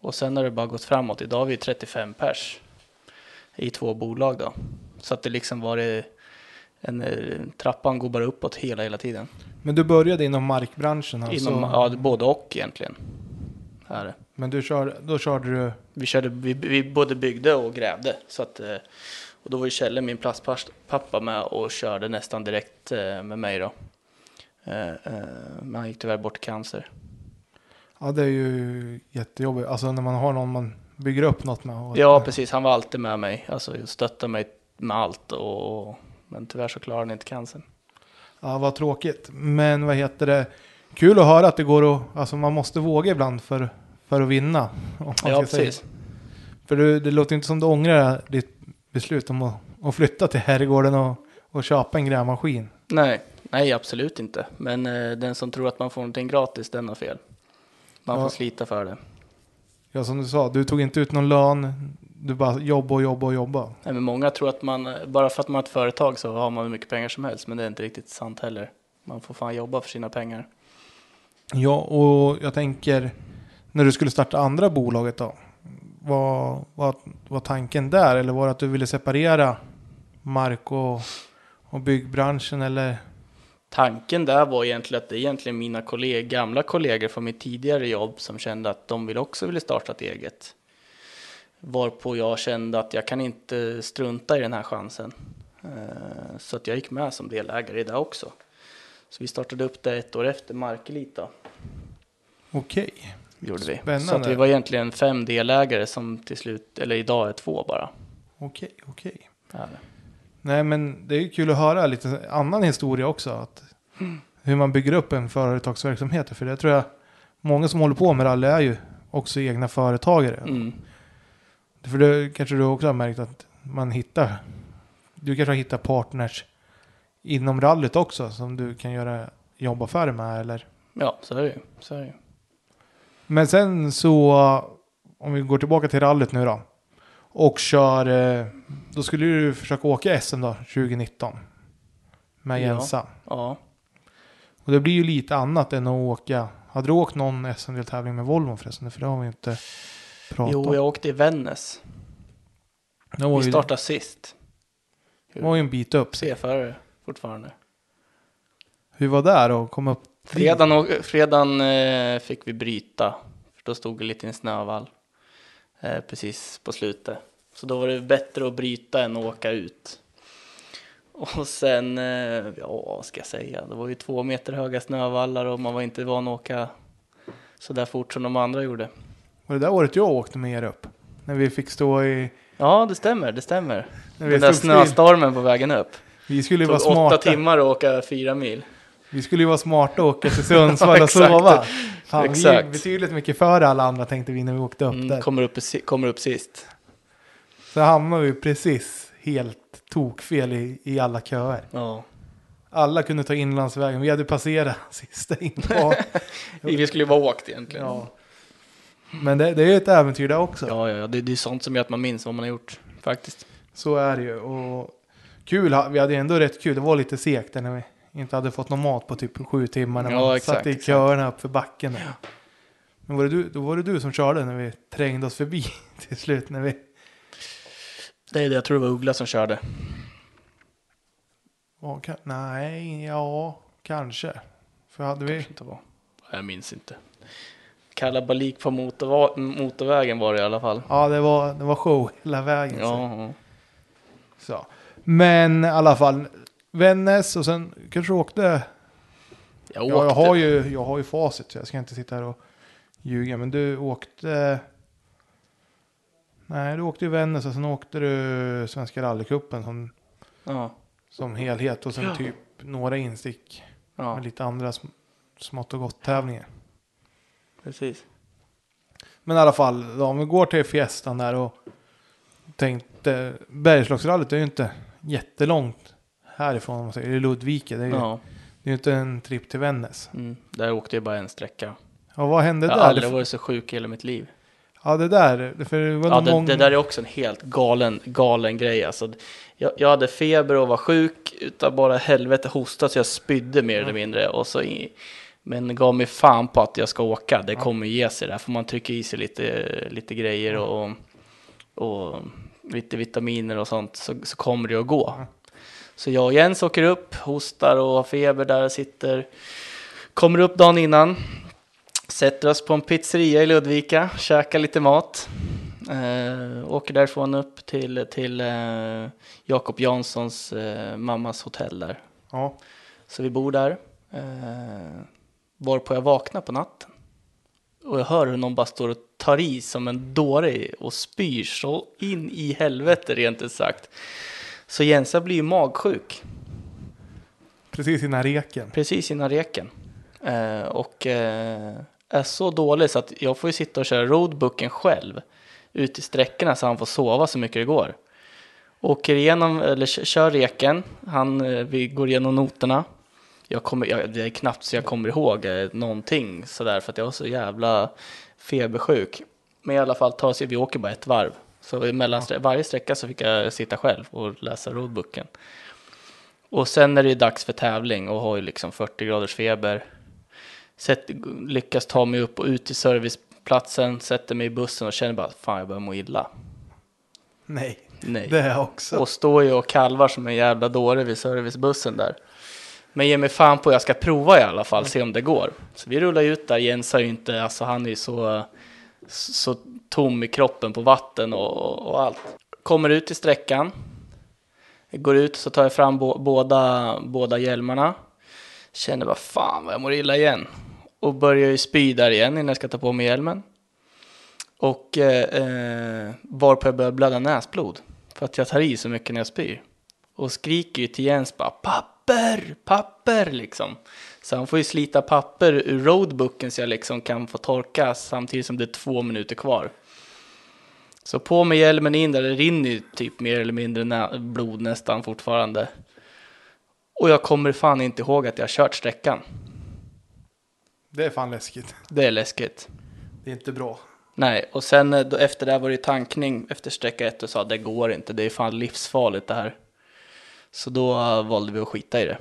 Speaker 3: Och sen har det bara gått framåt. Idag är vi 35 pers i två bolag då. Så att det liksom var det- en eh, trappan går bara uppåt hela, hela tiden.
Speaker 1: men du började inom markbranschen alltså.
Speaker 3: Inom, ja, både och egentligen. Är det.
Speaker 1: Men du kör, då körde du,
Speaker 3: Vi, körde, vi, vi både byggde och grävde. Så att, eh, och då var ju Kjelle, min plastpappa, med och körde nästan direkt eh, med mig då. Eh, eh, Men han gick tyvärr bort i cancer.
Speaker 1: ja det är ju jättejobbigt. Alltså när man har någon man bygger upp något med. och-
Speaker 3: Ja, precis. Han var alltid med mig. Alltså stöttade mig med allt. Och, och, men tyvärr så klarade han inte cancern.
Speaker 1: Ja, vad tråkigt. Men vad heter det? Kul att höra att det går att, alltså man måste våga ibland för, för att vinna. om man
Speaker 3: Ja,
Speaker 1: ska säga.
Speaker 3: precis.
Speaker 1: För du, det låter inte som du ångrar ditt beslut om att, att flytta till herrgården och, och köpa en grävmaskin.
Speaker 3: Nej, nej absolut inte. Men eh, den som tror att man får någonting gratis, den har fel. Man
Speaker 1: Ja.
Speaker 3: får slita för det.
Speaker 1: Ja, som du sa, du tog inte ut någon lön. Du bara jobba och jobba och jobba.
Speaker 3: Nej, men många tror att man, eh, bara för att man har ett företag så har man hur mycket pengar som helst, men det är inte riktigt sant heller. Man får fan jobba för sina pengar.
Speaker 1: Ja, och jag tänker när du skulle starta andra bolaget då. Vad var, var tanken där? Eller var det att du ville separera mark och, och byggbranschen? Eller?
Speaker 3: Tanken där var egentligen att det är egentligen mina kolleg gamla kollegor från mitt tidigare jobb som kände att de vill också ville starta ett eget. Varpå jag kände att jag kan inte strunta i den här chansen. Eh, Så att jag gick med som delägare i det också. Så vi startade upp det ett år efter Markelit då.
Speaker 1: Okej.
Speaker 3: Gjorde vi.
Speaker 1: Spännande.
Speaker 3: Så att vi var egentligen fem delägare som till slut, eller idag är två bara.
Speaker 1: Okej, okej.
Speaker 3: Är det.
Speaker 1: Nej, men det är ju kul att höra lite annan historia också. Att hur man bygger upp en företagsverksamhet. För det tror jag många som håller på med rally är ju också egna företagare.
Speaker 3: Mm.
Speaker 1: För det kanske du också har märkt att man hittar. Du kanske hittar partners inom rallyt också som du kan göra jobbaffärer med eller?
Speaker 3: Ja, så är det ju. Så är det ju.
Speaker 1: Men sen så, om vi går tillbaka till rallyt nu då. Och kör, eh, då skulle du försöka åka SM då, 2019. Med
Speaker 3: Ja.
Speaker 1: Jensa.
Speaker 3: Ja.
Speaker 1: Och det blir ju lite annat än att åka. Hade du åkt någon SM-deltävling med Volvo förresten? För det har vi inte pratat
Speaker 3: Jo,
Speaker 1: om.
Speaker 3: jag åkte i Vännäs.
Speaker 1: Det var
Speaker 3: Vi
Speaker 1: ju,
Speaker 3: startade sist.
Speaker 1: det var ju en bit upp.
Speaker 3: C-förare fortfarande.
Speaker 1: Hur var det då? Kom upp
Speaker 3: Fredagen, och, fredagen eh, fick vi bryta, för då stod vi lite i en snövall eh, precis på slutet. Så då var det bättre att bryta än att åka ut. Och sen, eh, ja vad ska jag säga, det var ju två meter höga snövallar och man var inte van att åka så där fort som de andra gjorde.
Speaker 1: Var det där året jag åkte med er upp? När vi fick stå i...
Speaker 3: Ja, det stämmer, det stämmer.
Speaker 1: När vi,
Speaker 3: Den där
Speaker 1: stod still.
Speaker 3: snöstormen på vägen upp.
Speaker 1: vi skulle
Speaker 3: Det
Speaker 1: ju vara
Speaker 3: tog åtta
Speaker 1: smarta.
Speaker 3: timmar att åka fyra mil.
Speaker 1: Vi skulle ju vara smarta och åka till Sundsvall
Speaker 3: Ja,
Speaker 1: och
Speaker 3: exakt.
Speaker 1: sova. Fan, vi är ju
Speaker 3: Exakt.
Speaker 1: betydligt mycket före alla andra tänkte vi när vi åkte upp
Speaker 3: Mm,
Speaker 1: där.
Speaker 3: kommer, upp, i si- kommer upp sist.
Speaker 1: Så hamnade vi precis helt tokfel i, i alla köer.
Speaker 3: Ja.
Speaker 1: Alla kunde ta inlandsvägen. Vi hade passerat sista infarten.
Speaker 3: Vi skulle ju vara åkt egentligen.
Speaker 1: Ja. Men det, det är ju ett äventyr det också.
Speaker 3: Ja, ja, ja. Det, det är sånt som gör att man minns vad man har gjort faktiskt.
Speaker 1: Så är det ju. Och kul, ha- vi hade ju ändå rätt kul. Det var lite segt där när vi inte hade fått någon mat på typ sju timmar. När
Speaker 3: Ja,
Speaker 1: man
Speaker 3: exakt,
Speaker 1: satt i
Speaker 3: exakt.
Speaker 1: köerna upp för backen. där. Men var det du, då var det du som körde när vi trängde oss förbi till slut. När vi,
Speaker 3: Det är det, jag tror det var Uggla som körde.
Speaker 1: ja, ka- nej, ja, kanske. För hade vi,
Speaker 3: Kanske inte var. Jag minns inte. Kalabalik på motorva- motorvägen var det i alla fall.
Speaker 1: ja det var, det var show hela vägen. så-
Speaker 3: Ja, ja.
Speaker 1: Så. Men i alla fall, Vännäs och sen kanske du åkte
Speaker 3: jag
Speaker 1: Ja,
Speaker 3: åkte.
Speaker 1: jag har, ju, jag har ju facit så jag ska inte sitta här och ljuga. Men du åkte... Nej, du åkte ju Vännäs och sen åkte du Svenska rallycupen som,
Speaker 3: Ja,
Speaker 1: som helhet. Och sen
Speaker 3: Ja.
Speaker 1: typ några instick
Speaker 3: ja
Speaker 1: med lite andra sm- smått och gott tävlingar.
Speaker 3: precis.
Speaker 1: Men i alla fall, då, om vi går till fiestan där och tänkte... Bergslagsrallyt är ju inte jättelångt härifrån om man säger. Det är Ludvika, det är ju
Speaker 3: Ja,
Speaker 1: det är ju inte en tripp till Vännäs.
Speaker 3: mm. Där åkte jag bara en sträcka.
Speaker 1: Ja, vad hände
Speaker 3: Jag har
Speaker 1: där? Det,
Speaker 3: aldrig
Speaker 1: f-
Speaker 3: varit så sjuk i hela mitt liv.
Speaker 1: ja, det där. För det var
Speaker 3: Ja,
Speaker 1: nog
Speaker 3: det,
Speaker 1: många...
Speaker 3: det där är också en helt galen, galen grej. Alltså, jag, jag hade feber och var sjuk utav bara helvete hosta så jag spydde mer eller mindre. Och så i, men gav mig fan på att jag ska åka. Det kommer ge sig där. För man trycker i sig lite, lite grejer och, och lite vitaminer och sånt. Så, så kommer det att gå. Så jag och Jens åker upp, hostar och har feber där och sitter. Kommer upp dagen innan. Sätter oss på en pizzeria i Ludvika, käkar lite mat. Eh, åker därifrån upp till, till eh, Jakob Janssons eh, mammas hotell där.
Speaker 1: Ja.
Speaker 3: Så vi bor där. Eh, varpå jag vaknar på natten. Och jag hör hur någon bara står och tar i som en dåre och spyr så in i helvete rent ut sagt. Så Jensa blir ju magsjuk
Speaker 1: Precis innan reken.
Speaker 3: precis innan reken. Eh, och eh, är så dålig så att jag får ju sitta och köra roadbooken själv ut i sträckorna så han får sova så mycket det går. Åker igenom, eller k- kör reken, han, eh, vi går igenom noterna. Jag kommer, jag, det är knappt så jag kommer ihåg eh, någonting sådär för att jag var så jävla febersjuk. Men i alla fall, tar sig, vi åker bara ett varv. Så mellan strä- varje sträcka så fick jag sitta själv och läsa roadbooken. Och sen är det ju dags för tävling och har ju liksom 40 graders feber. Sätt, lyckas ta mig upp och ut till serviceplatsen, sätter mig i bussen och känner bara fan jag börjar må illa.
Speaker 1: Nej,
Speaker 3: Nej.
Speaker 1: det är också.
Speaker 3: Och står ju och kalvar som en jävla dåre vid servicebussen där. Men ge mig fan på, jag ska prova i alla fall, se om det går. Så vi rullar ut där, Jens har ju inte, alltså han är ju så, så tom i kroppen på vatten och, och allt. Kommer ut i sträckan, går ut så tar jag fram bå- båda, båda hjälmarna. Känner bara fan vad jag mår illa igen. Och börjar ju spy där igen innan jag ska ta på mig hjälmen. Och eh, eh, varpå jag börjar blöda näsblod. För att jag tar i så mycket när jag spyr. Och skriker ju till Jens bara papper, papper liksom. Så han får ju slita papper ur roadbooken så jag liksom kan få torka samtidigt som det är två minuter kvar. Så på med hjälmen in där, det rinner ju typ mer eller mindre nä- blod nästan fortfarande. Och jag kommer fan inte ihåg att jag har kört sträckan.
Speaker 1: Det är fan läskigt.
Speaker 3: Det är läskigt.
Speaker 1: Det är inte bra.
Speaker 3: Nej, och sen eh, då, efter det här var det tankning efter sträcka ett och sa det går inte, det är fan livsfarligt det här. Så då eh, valde vi att skita i det.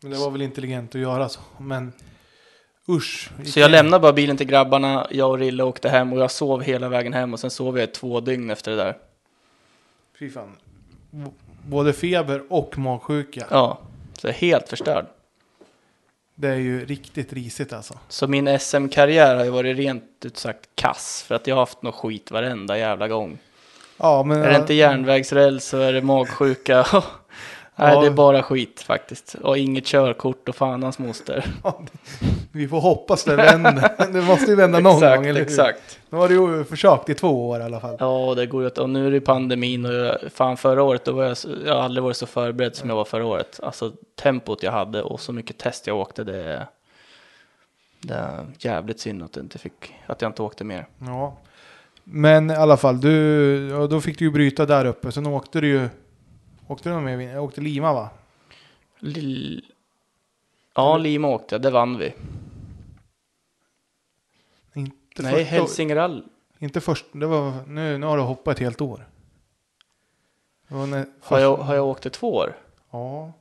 Speaker 1: Men det var väl intelligent att göra så. Men usch.
Speaker 3: Så jag lämnade bara bilen till grabbarna, jag och Rille åkte hem och jag sov hela vägen hem och sen sov jag i två dygn efter det där.
Speaker 1: Fy fan. B- Både feber och magsjuka.
Speaker 3: Ja, så jag är helt förstörd.
Speaker 1: Det är ju riktigt risigt alltså.
Speaker 3: Så min SM-karriär har ju varit rent ut sagt kass för att jag har haft något skit varenda jävla gång.
Speaker 1: Ja, men,
Speaker 3: Är det inte järnvägsräls så är det magsjuka. Nej,
Speaker 1: Ja.
Speaker 3: det är bara skit faktiskt. Och inget körkort och fan hans moster.
Speaker 1: Vi får hoppas det vänder. det måste ju vända någon
Speaker 3: exakt,
Speaker 1: gång, eller hur?
Speaker 3: exakt.
Speaker 1: Nu har du ju försökt i två år i alla fall.
Speaker 3: Ja, och det går ju att, och nu är det pandemin och jag, fan förra året, då var jag, så- jag har aldrig varit så förberedd som jag var förra året. Alltså tempot jag hade och så mycket test jag åkte, det, det är jävligt synd att, det inte fick, att jag inte åkte mer.
Speaker 1: Ja. Men i alla fall, du, ja, då fick du ju bryta där uppe. Sen åkte du ju... Åkte du någon mer? vin- Jag åkte Lima va?
Speaker 3: Lill- Ja, Lima åkte jag, det vann vi.
Speaker 1: Inte
Speaker 3: Nej,
Speaker 1: första, år-
Speaker 3: Hälsingerall.
Speaker 1: Inte först. Det var, nu, nu har du hoppat ett helt år. Det var när-
Speaker 3: Har
Speaker 1: först-
Speaker 3: jag, har jag åkt i två år?
Speaker 1: Ja.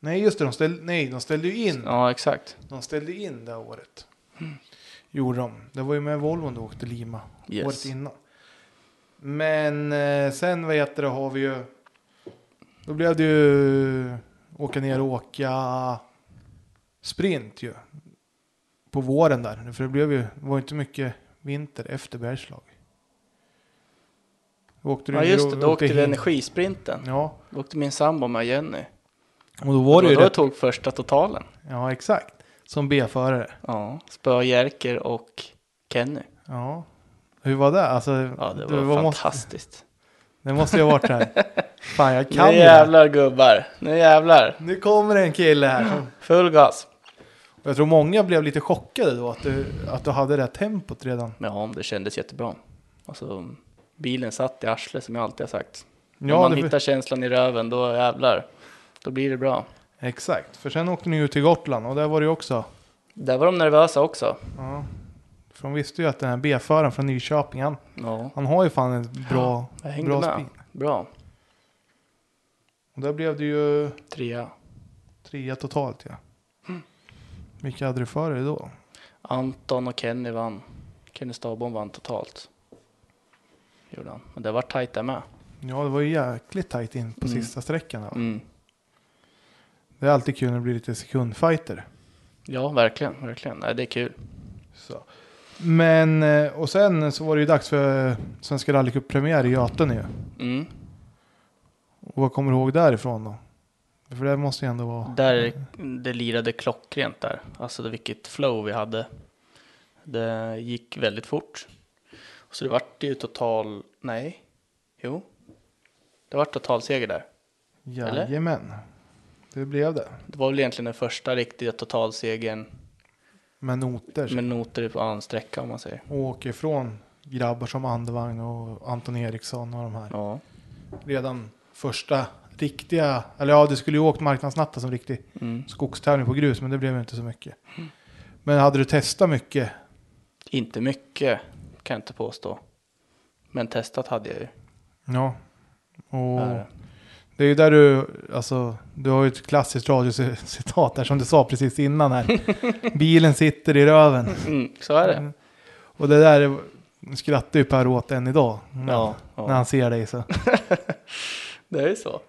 Speaker 1: Nej, just det. De ställde, nej, de ställde ju in.
Speaker 3: Ja, exakt.
Speaker 1: De ställde in det här året. Gjorde de. Det var ju med Volvo du åkte Lima.
Speaker 3: Yes.
Speaker 1: Året innan. Men eh, sen vad heter det har vi ju. Då blev det ju åka ner och åka sprint ju. På våren där. För det blev ju. Det var ju inte mycket vinter efter Bergslag. Då åkte du
Speaker 3: Ja,
Speaker 1: ner
Speaker 3: just
Speaker 1: och
Speaker 3: det, då åkte vi
Speaker 1: hin-
Speaker 3: energisprinten.
Speaker 1: Ja,
Speaker 3: Då åkte min sambo med Jenny.
Speaker 1: och då var det ju
Speaker 3: då jag
Speaker 1: rätt.
Speaker 3: tog första totalen.
Speaker 1: Ja, exakt. Som B-förare.
Speaker 3: Ja, spöa Jerker och Kenny.
Speaker 1: Ja. Hur var det? Alltså,
Speaker 3: Ja, det
Speaker 1: du,
Speaker 3: var
Speaker 1: vad måste-
Speaker 3: fantastiskt.
Speaker 1: Det måste ju ha varit så här. Fan, jag kan
Speaker 3: Nu
Speaker 1: ju det här.
Speaker 3: jävlar gubbar, nu jävlar.
Speaker 1: Nu kommer en kille här. som-
Speaker 3: Full gas.
Speaker 1: Och jag tror många blev lite chockade då att du, att du hade det här tempot redan.
Speaker 3: Ja, det kändes jättebra. Alltså, bilen satt i arslet som jag alltid har sagt.
Speaker 1: Ja,
Speaker 3: Om man
Speaker 1: det-
Speaker 3: hittar känslan i röven, då jävlar. Då blir det bra.
Speaker 1: Exakt, för sen åkte ni ju till Gotland och där var det ju också.
Speaker 3: Där var de nervösa också.
Speaker 1: Ja. För de visste ju att den här B-föraren från Nyköping, han,
Speaker 3: Ja,
Speaker 1: han har ju fan en bra,
Speaker 3: jag hängde
Speaker 1: bra
Speaker 3: med.
Speaker 1: spin.
Speaker 3: Bra.
Speaker 1: Och där blev det ju
Speaker 3: Trea.
Speaker 1: trea totalt ja. Vilka hade du för dig då?
Speaker 3: Anton och Kenny vann. Kenny Stabom vann totalt. Gjorde han. Men det var tajt där med.
Speaker 1: Ja, det var ju jäkligt tajt in på
Speaker 3: Mm.
Speaker 1: sista sträckan. Då.
Speaker 3: Mm.
Speaker 1: Det är alltid kul när det blir lite sekundfighter.
Speaker 3: Ja, verkligen, verkligen. Nej, det är kul.
Speaker 1: Så. Men, eh, och sen så var det ju dags för Svenska rallycup-premiär i Göten ju.
Speaker 3: Mm.
Speaker 1: Och vad kommer du ihåg därifrån då? För det måste ju ändå vara...
Speaker 3: Där, det lirade klockrent där. Alltså det, vilket flow vi hade. Det gick väldigt fort. Så det vart ju total, nej, jo. Det vart totalseger där. eller?
Speaker 1: Jajamän. Det blev det.
Speaker 3: Det var väl egentligen den första riktiga totalsegern
Speaker 1: Med noter.
Speaker 3: med noter på en sträcka om man säger.
Speaker 1: Och åker ifrån grabbar som Andevang och Anton Eriksson och de här.
Speaker 3: Ja,
Speaker 1: Redan första riktiga... Eller ja, det skulle ju åkt marknadsnatta som riktig
Speaker 3: mm.
Speaker 1: skogstävling på grus. Men det blev ju inte så mycket. Men hade du testat mycket?
Speaker 3: inte mycket kan jag inte påstå. Men testat hade jag ju.
Speaker 1: Ja. Och...
Speaker 3: Där.
Speaker 1: Det är ju där du, alltså, du har ju ett klassiskt radiocitat där som du sa precis innan här. Bilen sitter i röven.
Speaker 3: Mm, så är det.
Speaker 1: Och det där är- skrattar ju Per åt än idag. När,
Speaker 3: Ja,
Speaker 1: när
Speaker 3: ja.
Speaker 1: han ser dig så.
Speaker 3: det är ju så.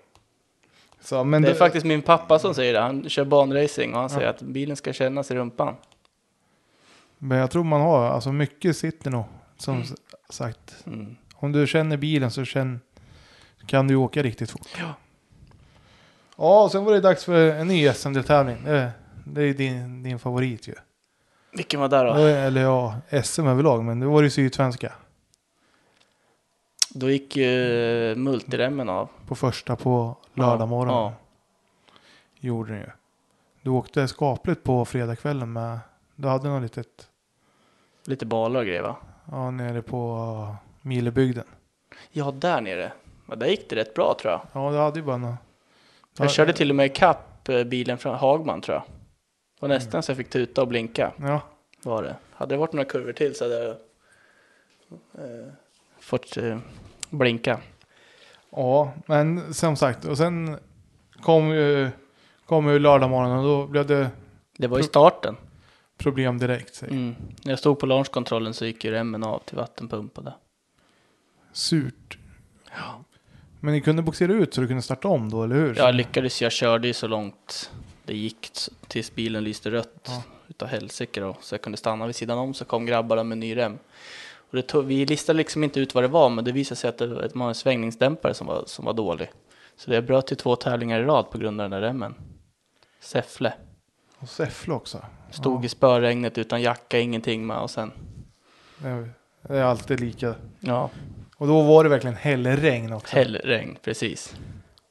Speaker 1: så men
Speaker 3: det är
Speaker 1: du-
Speaker 3: faktiskt min pappa som säger det. Han kör banracing och han säger att bilen ska kännas i rumpan.
Speaker 1: Men jag tror man har, alltså mycket sitter nog. Som s- sagt,
Speaker 3: Mm.
Speaker 1: om du känner bilen så känn, kan du åka riktigt fort.
Speaker 3: Ja.
Speaker 1: Ja, och sen var det dags för en ny SM-deltävling. Det, det är din, din favorit ju.
Speaker 3: Vilken var där då?
Speaker 1: Eller ja, SM överlag, men det var det ju Sydsvenska.
Speaker 3: Då gick ju eh, multiremmen av.
Speaker 1: på första på lördag morgon.
Speaker 3: Ja,
Speaker 1: Gjorde den ju. Du åkte skapligt på fredagskvällen med, du hade något litet,
Speaker 3: lite balar och grejer va?
Speaker 1: Ja, nere på Milebygden.
Speaker 3: Ja, där nere. Ja, där gick det rätt bra tror jag.
Speaker 1: Ja, det hade ju bara några...
Speaker 3: Jag körde till och med ikapp eh, bilen från Hagman tror jag. Det
Speaker 1: Mm.
Speaker 3: var nästan så jag fick tuta och blinka.
Speaker 1: Ja,
Speaker 3: Var det. Hade det varit några kurvor till så hade jag eh, fått eh, blinka.
Speaker 1: ja men som sagt. Och sen kom ju, kom ju lördag morgon och då blev det
Speaker 3: Det var ju starten.
Speaker 1: problem direkt. säger jag.
Speaker 3: Mm. När jag stod på launchkontrollen så gick ju remmen av till vattenpumpade.
Speaker 1: Surt. Men ni kunde boxera ut så du kunde starta om då, eller hur?
Speaker 3: Jag lyckades, jag körde ju så långt det gick s- tills bilen lyste rött
Speaker 1: Ja.
Speaker 3: utav helsike då. Så jag kunde stanna vid sidan om så kom grabbarna med ny rem. Och det tog, vi listade liksom inte ut vad det var men det visade sig att det var ett- var en svängningsdämpare som var, som var dålig. Så det bröt ju två tävlingar i rad på grund av den där remmen. Säffle.
Speaker 1: Och Säffle också.
Speaker 3: Stod i spöregnet utan jacka, ingenting med och sen.
Speaker 1: Det är- Det är alltid lika.
Speaker 3: Ja,
Speaker 1: Och då var det verkligen hellregn också.
Speaker 3: hellregn, precis.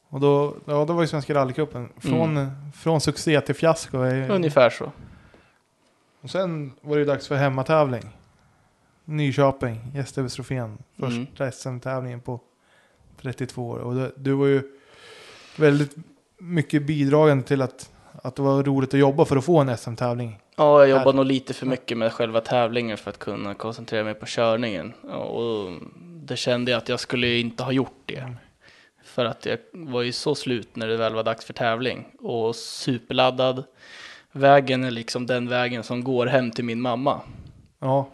Speaker 1: Och då, ja, då var ju Svenska rallycupen. Från, från succé till fiasko. är-
Speaker 3: Mm. Ungefär så.
Speaker 1: Och sen var det ju dags för hemmatävling. Nyköping, Gästövestrofén.
Speaker 3: Mm.
Speaker 1: Första SM-tävlingen på 32 år. Och det, du var ju väldigt mycket bidragande till att, att det var roligt att jobba för att få en SM-tävling.
Speaker 3: Ja, jag
Speaker 1: Här.
Speaker 3: jobbar nog lite för mycket med själva tävlingen för att kunna koncentrera mig på körningen. Ja, Och det kände jag att jag skulle ju inte ha gjort
Speaker 1: Mm.
Speaker 3: det. För att jag var ju så slut när det väl var dags för tävling. Och superladdad. Vägen är liksom den vägen som går hem till min mamma.
Speaker 1: Ja,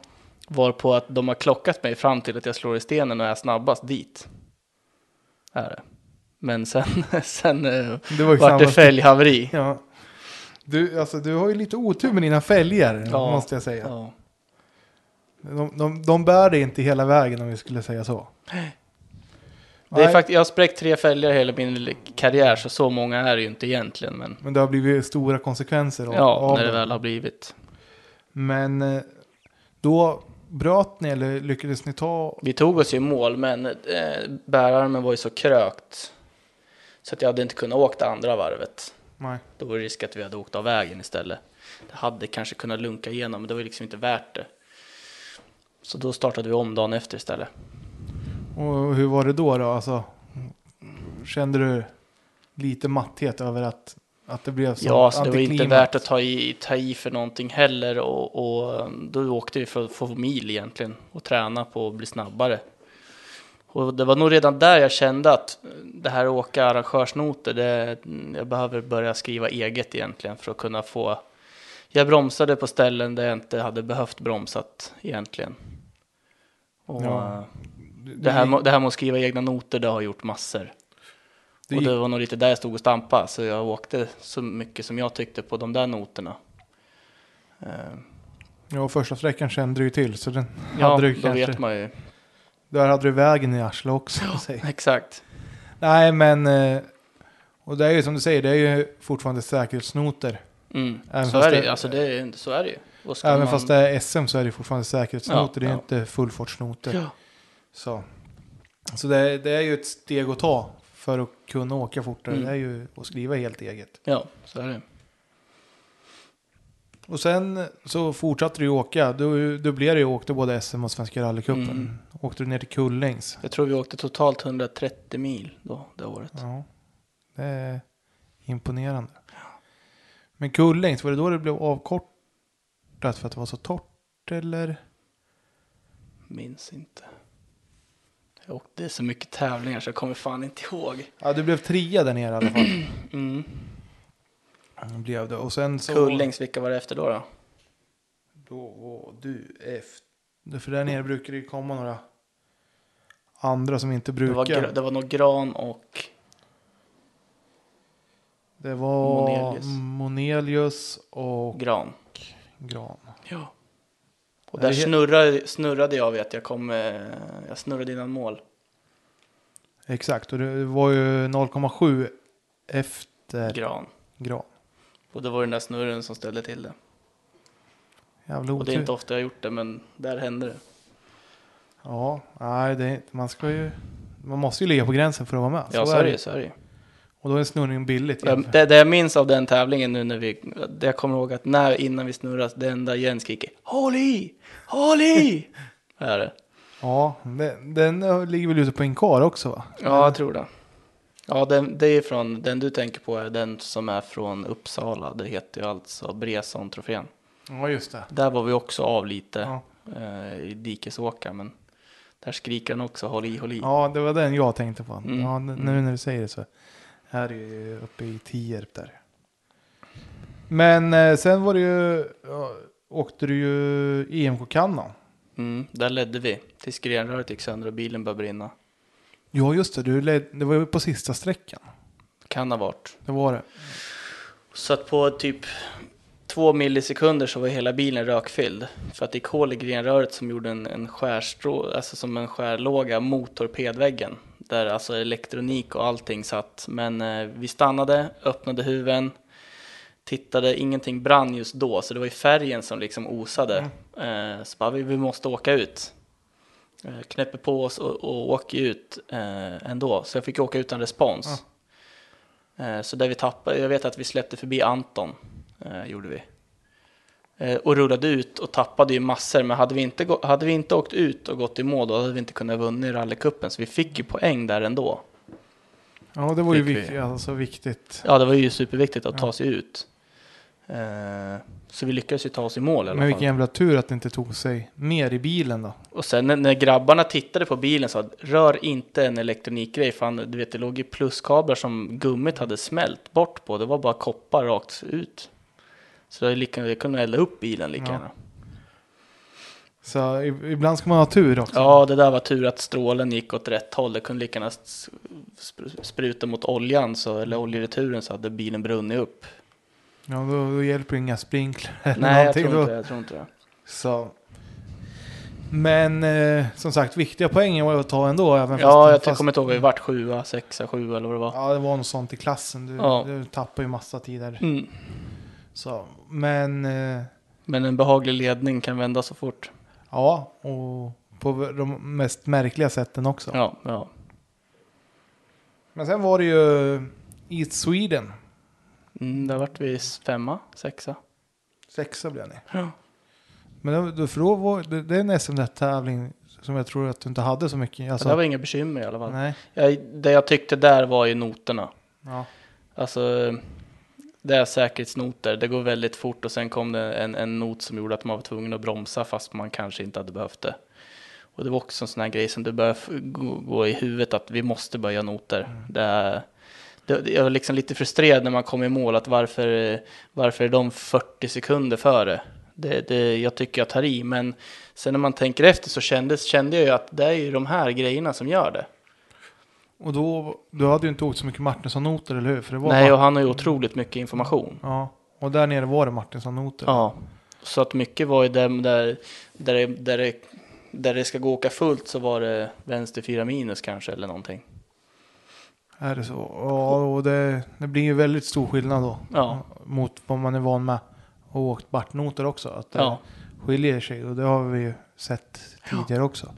Speaker 3: Varpå att de har klockat mig fram till att jag slår i stenen och är snabbast dit. Är det. Men sen, sen eh,
Speaker 1: det var ju
Speaker 3: vart det
Speaker 1: samma.
Speaker 3: fälghaveri.
Speaker 1: Ja. Du, alltså, du har ju lite otur med dina fälgar,
Speaker 3: Ja.
Speaker 1: måste jag säga.
Speaker 3: Ja.
Speaker 1: De, de, de bär dig inte hela vägen om vi skulle säga så.
Speaker 3: Det är
Speaker 1: Nej,
Speaker 3: fakt- jag har spräckt tre fälgar hela min li- karriär, så så många är det ju inte egentligen. Men
Speaker 1: Men det har blivit stora konsekvenser av,
Speaker 3: ja,
Speaker 1: av
Speaker 3: när det
Speaker 1: det.
Speaker 3: väl har blivit.
Speaker 1: Men eh, då bröt ni eller lyckades ni ta?
Speaker 3: Vi tog oss ju i mål, men eh, bärarmen var ju så krökt. Så att jag hade inte kunnat åka det andra varvet.
Speaker 1: Nej.
Speaker 3: Då var det risk att vi hade åkt av vägen istället. Det hade kanske kunnat lunka igenom, men det var ju liksom inte värt det. Så då startade vi om dagen efter istället.
Speaker 1: Och hur var det då? då? Alltså, kände du lite matthet över att, att det blev så
Speaker 3: Ja, alltså det var inte värt att ta i, ta i för någonting heller och, och um, då åkte vi för att få mil egentligen och träna på att bli snabbare. Och det var nog redan där jag kände att eh, det här att åka arrangörsnoter, det, mm, jag behöver börja skriva eget egentligen för att kunna få. Jag bromsade på ställen där jag inte hade behövt bromsat egentligen. Och
Speaker 1: Ja.
Speaker 3: eh, det, här, må- det här med att skriva egna noter, det har gjort massor.
Speaker 1: Det
Speaker 3: Och
Speaker 1: gick-
Speaker 3: det var nog lite där jag stod och stampade, så jag åkte så mycket som jag tyckte på de där noterna. Eh,
Speaker 1: Ja, första sträckan kände du ju till. Så den
Speaker 3: Ja,
Speaker 1: hade du
Speaker 3: då
Speaker 1: kanske,
Speaker 3: vet man ju.
Speaker 1: Där hade du vägen i arslet också. säg.
Speaker 3: Exakt.
Speaker 1: Nej, men... eh, Och det är ju som du säger, det är ju fortfarande säkerhetsnoter.
Speaker 3: Mm.
Speaker 1: Även
Speaker 3: Så,
Speaker 1: fast
Speaker 3: är det,
Speaker 1: det-
Speaker 3: ju. alltså det, är- så är det ju. Och ska
Speaker 1: Även
Speaker 3: man-
Speaker 1: fast det är SM så är det fortfarande säkerhetsnoter, det
Speaker 3: Ja,
Speaker 1: är
Speaker 3: ja.
Speaker 1: inte fullfartsnoter.
Speaker 3: Ja.
Speaker 1: Så, så det, är- det är ju ett steg att ta för att kunna åka fortare.
Speaker 3: Mm.
Speaker 1: Det är ju att skriva helt eget.
Speaker 3: ja, så är det.
Speaker 1: Och sen så fortsatte du ju åka. Du dubblerade ju och åkte både SM och Svenska rallycupen.
Speaker 3: Mm.
Speaker 1: Åkte du ner till Kullängs.
Speaker 3: Jag tror vi åkte totalt 130 mil då, det året.
Speaker 1: Ja, det är imponerande. Men Kullängs, var det då det blev avkortat för att det var så torrt eller?
Speaker 3: Minns inte. Jag åkte så mycket tävlingar så jag kommer fan inte ihåg.
Speaker 1: Ja, du blev trea där nere i alla fall.
Speaker 3: Mm.
Speaker 1: Ja, blev det. Och sen så...
Speaker 3: Kullings, vilka var det efter då? då?
Speaker 1: Då var du efter. För där nere brukar det ju komma några andra som inte
Speaker 3: Det, var,
Speaker 1: brukar.
Speaker 3: Gra- det var nog Gran och
Speaker 1: Det var Monelius,
Speaker 3: Monelius.
Speaker 1: och
Speaker 3: Gran.
Speaker 1: Gran.
Speaker 3: Ja. Och
Speaker 1: Det är
Speaker 3: där
Speaker 1: helt-
Speaker 3: snurrade, snurrade jag vet jag kom, eh, jag snurrade innan mål.
Speaker 1: Exakt, och det var ju 0,7 efter
Speaker 3: Gran.
Speaker 1: Gran.
Speaker 3: Och det var den där snurren som ställde till det.
Speaker 1: Jävla
Speaker 3: Och det är
Speaker 1: otur.
Speaker 3: inte ofta jag gjort det men där hände det.
Speaker 1: Ja, nej, det är inte. Man ska ju... Man måste ju ligga på gränsen för att vara med.
Speaker 3: Ja så är det ju, så är det ju.
Speaker 1: Och då är snurrningen billigt.
Speaker 3: Ja,
Speaker 1: jämfört.
Speaker 3: Det, det jag minns av den tävlingen nu när vi, det jag kommer ihåg att när innan vi snurrade, det enda Jens skriker Håll i! Håll i! Är det.
Speaker 1: Ja, den, den ligger väl ute på Inkar också va?
Speaker 3: Ja, jag tror det. Ja, den, det är från, den du tänker på är den som är från Uppsala. Det heter ju alltså Bresson-trofén.
Speaker 1: Ja, just det.
Speaker 3: Där var vi också av lite
Speaker 1: Ja.
Speaker 3: eh, i dikesåka, men där skriker han också håll i, håll i.
Speaker 1: Ja, det var den jag tänkte på.
Speaker 3: Mm.
Speaker 1: Ja, n- nu när du säger det så. Här är ju uppe i Tierp där. Men eh, sen var det ju, ja, åkte du ju E EMK Kanada.
Speaker 3: Mm, där ledde vi tills grenröret gick sönder och bilen började brinna.
Speaker 1: Ja, just det. Du led, det var ju på sista sträckan.
Speaker 3: Kan ha varit.
Speaker 1: Det var det.
Speaker 3: Så att på typ två millisekunder så var hela bilen rökfylld. För att det gick hål i grenröret som gjorde en, en skärstrå, alltså som en skärlåga mot torpedväggen. Där alltså elektronik och allting satt. Men eh, vi stannade, öppnade huven, tittade, ingenting brann just då. Så det var ju färgen som liksom osade. Eh, så bara, vi, vi måste åka ut. Eh, knäpper på oss och, och åker ut eh, ändå. Så jag fick åka utan respons.
Speaker 1: Ja.
Speaker 3: Eh, Så där vi tappade, jag vet att vi släppte förbi Anton, eh, gjorde vi. Eh, och rullade ut och tappade ju massor, men hade vi, inte gå, hade vi inte åkt ut och gått i mål då hade vi inte kunnat vunnit rallycupen, så vi fick ju poäng där ändå.
Speaker 1: Ja, det var ju
Speaker 3: Fick vi.
Speaker 1: vik- alltså, viktigt.
Speaker 3: Ja, det var ju superviktigt att
Speaker 1: Ja.
Speaker 3: ta sig ut. Eh, så vi lyckades ju ta oss i mål i alla
Speaker 1: Men vilken
Speaker 3: fall.
Speaker 1: jävla tur att det inte tog sig mer i bilen då.
Speaker 3: Och sen när- när grabbarna tittade på bilen sa att rör inte en elektronikgrej, för han, du vet det låg ju pluskablar som gummit hade smält bort på, det var bara koppar rakt ut. Så det, lika, det kunde elda upp bilen lika
Speaker 1: Ja.
Speaker 3: gärna.
Speaker 1: Så i- ibland ska man ha tur också.
Speaker 3: Ja, det där var tur att strålen gick åt rätt håll. Det kunde lika gärna s- spr- spruta mot oljan, så,
Speaker 1: Mm.
Speaker 3: eller oljereturen, så hade bilen brunnit upp.
Speaker 1: Ja, då, då hjälper inga sprinkler eller
Speaker 3: Nej, jag
Speaker 1: någonting.
Speaker 3: tror, inte,
Speaker 1: Då-
Speaker 3: jag tror inte det.
Speaker 1: Så. Men eh, som sagt, viktiga poängen var ju att ta ändå. Även
Speaker 3: Ja, jag
Speaker 1: fast,
Speaker 3: kommer inte ihåg, vi vart sjua, sexa, sjua eller vad det var.
Speaker 1: Ja, det var något sånt i klassen. Du,
Speaker 3: Ja.
Speaker 1: du tappar ju massa tid där.
Speaker 3: Mm.
Speaker 1: Så, men eh,
Speaker 3: Men en behaglig ledning kan vända så fort.
Speaker 1: ja, och på de mest märkliga sätten också.
Speaker 3: Ja, ja.
Speaker 1: Men sen var det ju East Sweden.
Speaker 3: Mm, där vart vi s- femma, sexa.
Speaker 1: Sexa blev ni.
Speaker 3: Ja.
Speaker 1: Men då- då, för då var, det, det är en SMD-tävling som jag tror att du inte hade så mycket.
Speaker 3: Det
Speaker 1: Alltså,
Speaker 3: där var inga bekymmer i alla fall.
Speaker 1: nej.
Speaker 3: Jag, det jag tyckte där var ju noterna.
Speaker 1: Ja.
Speaker 3: Alltså, det är säkerhetsnoter. Det går väldigt fort och sen kom det en, en not som gjorde att man var tvungen att bromsa fast man kanske inte hade behövt det. Och det var också en sån här grej som det började f- gå, gå i huvudet att vi måste börja noter. Det är, det, det- jag var liksom lite frustrerad när man kom i mål att varför, varför är de 40 sekunder före? Det, det, jag tycker jag tar i, men sen när man tänker efter så kändes, kände jag ju att det är ju de här grejerna som gör det.
Speaker 1: Och då, du hade ju inte åkt så mycket Martinsson-noter, eller hur? För det var
Speaker 3: Nej, och han har ju otroligt mycket information.
Speaker 1: Ja, och där nere var det Martinsson-noter.
Speaker 3: Ja, så att mycket var ju där, där, där, det, där, det, där det ska gå åka fullt så var det vänster 4 minus kanske eller någonting.
Speaker 1: Är det så? Ja, och det, det blir ju väldigt stor skillnad då.
Speaker 3: Ja.
Speaker 1: Mot vad man är van med och åkt bartnoter också. Att det
Speaker 3: Ja.
Speaker 1: skiljer sig och det har vi ju sett tidigare också.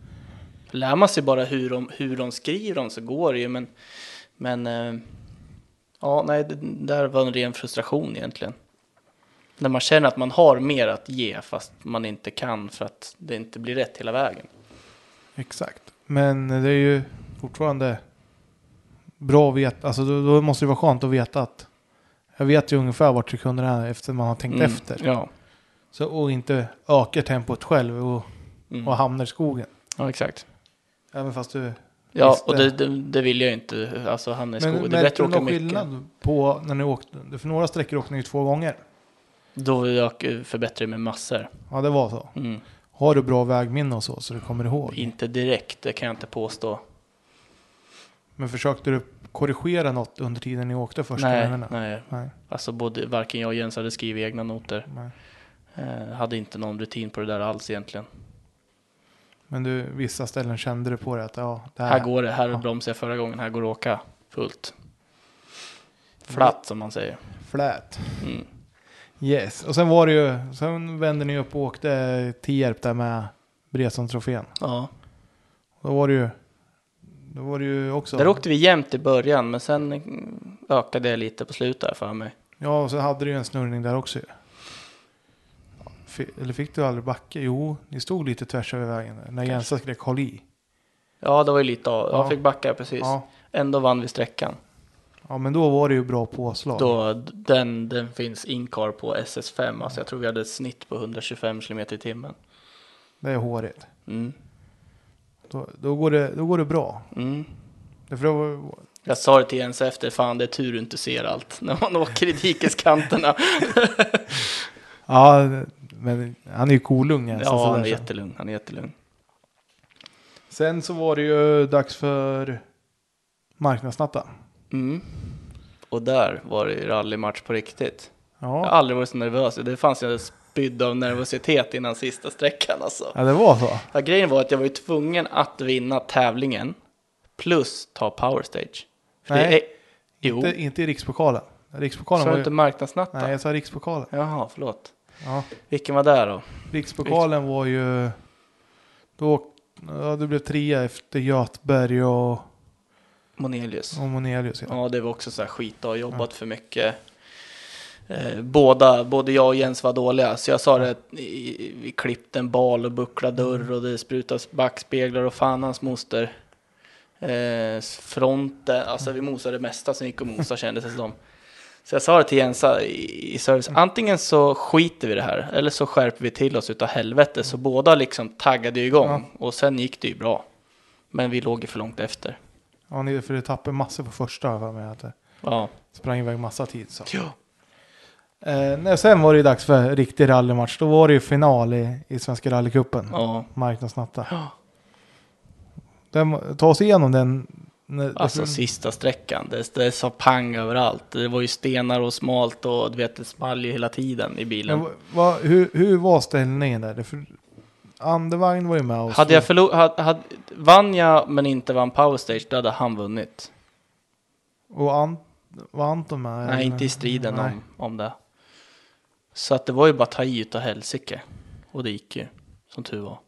Speaker 3: Lär man sig bara hur de, hur de skriver dem så går det ju, men, men eh, ja, nej, det där var en ren frustration egentligen. När man känner att man har mer att ge fast man inte kan för att det inte blir rätt hela vägen.
Speaker 1: Exakt. Men det är ju fortfarande bra att veta. Alltså då, då måste det vara skönt att veta att jag vet ju ungefär vart sekunderna är efter man har tänkt
Speaker 3: Mm,
Speaker 1: efter.
Speaker 3: Ja,
Speaker 1: Så, och inte ökar tempot själv och,
Speaker 3: mm.
Speaker 1: och hamnar i skogen.
Speaker 3: ja exakt.
Speaker 1: Även fast du
Speaker 3: Ja,
Speaker 1: Visst,
Speaker 3: och
Speaker 1: det-
Speaker 3: det, det, det vill jag ju inte, alltså hamna i
Speaker 1: Men
Speaker 3: skogen. Det är
Speaker 1: märkte du
Speaker 3: bättre att åka
Speaker 1: någon
Speaker 3: mycket.
Speaker 1: skillnad på när ni åkte? För några sträckor åkte ni ju två gånger.
Speaker 3: Då jag förbättrade med massor.
Speaker 1: Ja, det var så.
Speaker 3: Mm.
Speaker 1: Har du bra vägminne och så, så du kommer ihåg?
Speaker 3: Inte direkt, det kan jag inte påstå.
Speaker 1: Men försökte du korrigera något under tiden ni åkte första
Speaker 3: nej,
Speaker 1: gångerna?
Speaker 3: nej,
Speaker 1: Nej,
Speaker 3: alltså både, varken jag och Jens hade skrivit egna noter.
Speaker 1: nej.
Speaker 3: Eh, hade inte någon rutin på det där alls egentligen.
Speaker 1: Men du, vissa ställen kände du på det att ja, det här,
Speaker 3: Här går det, här
Speaker 1: Ja.
Speaker 3: bromsade jag förra gången, här går det att åka fullt.
Speaker 1: Mm.
Speaker 3: Flatt som man säger.
Speaker 1: flät.
Speaker 3: Mm.
Speaker 1: Yes, och sen var det ju, sen vände ni upp och åkte Tierp där med Bresson-trofén.
Speaker 3: Ja.
Speaker 1: Då var det ju, då var det ju också.
Speaker 3: Där åkte vi jämnt i början, men sen mm, ökade jag lite på slutet här för mig.
Speaker 1: Ja, och så hade du ju en snurrning där också ju. fi- eller fick du aldrig backa? Jo, ni stod lite tvärs över vägen där, när Jensa skrek håll i.
Speaker 3: Ja, det var ju lite av.
Speaker 1: Ja.
Speaker 3: Jag fick backa precis.
Speaker 1: Ja.
Speaker 3: Ändå vann vi sträckan.
Speaker 1: ja, men då var det ju bra påslag.
Speaker 3: Då, den, den finns inkar på SS5. Alltså jag tror vi hade ett snitt på 125 km i timmen.
Speaker 1: Det är håret.
Speaker 3: Mm.
Speaker 1: Då, då, går det, då går det bra.
Speaker 3: Mm.
Speaker 1: Därför det var,
Speaker 3: Jag sa det till Jens efter, fan det är tur du inte ser allt när man åker i dikeskanterna.
Speaker 1: ja, men han är ju kolugn Jensa.
Speaker 3: ja,
Speaker 1: sådär
Speaker 3: han är
Speaker 1: så.
Speaker 3: jättelugn, han är jättelugn.
Speaker 1: Sen så var det ju dags för marknadsnatten.
Speaker 3: Mm. Och där var det ju rallymatch på riktigt. Jag har
Speaker 1: Ja.
Speaker 3: aldrig varit så nervös, det fanns ju en spydd av nervositet innan sista sträckan alltså.
Speaker 1: ja, det var så.
Speaker 3: Ja, grejen var att jag var ju tvungen att vinna tävlingen plus ta powerstage. För
Speaker 1: Nej,
Speaker 3: det är, jo,
Speaker 1: Inte, inte i rikspokalen. Rikspokalen
Speaker 3: sa
Speaker 1: var
Speaker 3: du
Speaker 1: ju...
Speaker 3: inte marknadsnatta?
Speaker 1: Nej, jag sa rikspokalen.
Speaker 3: Jaha, förlåt.
Speaker 1: Ja.
Speaker 3: Vilken var där då?
Speaker 1: Rikspokalen var ju... Då åk- ja, det blev trea efter Götberg och,
Speaker 3: Monelius.
Speaker 1: och Monelius. Ja.
Speaker 3: Ja, det var också så här skit och jobbat för mycket. Eh, Båda, både jag och Jens var dåliga, så jag sa det, i- i- vi klippte en bal och bucklade dörr och det sprutades backspeglar och fan hans moster. Eh, fronten, alltså vi mosade det mesta som gick att mosa kändes det som. Så jag sa det till Jensa i i service, antingen så skiter vi i det här eller så skärper vi till oss utav helvete. Så båda liksom taggade ju igång och sen gick det ju bra. Men vi låg ju för långt efter.
Speaker 1: Ja, ni, för det tappade massor på första har jag för mig att det
Speaker 3: Ja.
Speaker 1: sprang iväg massa tid. Så. Eh, nej, sen var det ju dags för riktig rallymatch. Då var det ju final i, i Svenska rallycupen.
Speaker 3: ja.
Speaker 1: Marknadsnatta.
Speaker 3: Ja.
Speaker 1: Den, ta oss igenom den. när-
Speaker 3: Alltså sista sträckan, det, det sa pang överallt. Det var ju stenar och smalt och du vet, det small ju hela tiden i bilen.
Speaker 1: Men vad- vad- hur, hur var ställningen där? Det För Andevagn var ju med oss.
Speaker 3: hade jag förlorat, hade, hade, vann jag men inte vann powerstage, då hade han vunnit.
Speaker 1: Och Ant, var Anton med?
Speaker 3: Nej, inte i striden om, om det. Så att det var ju bara ta i utav helsike. Och det gick ju, som tur var.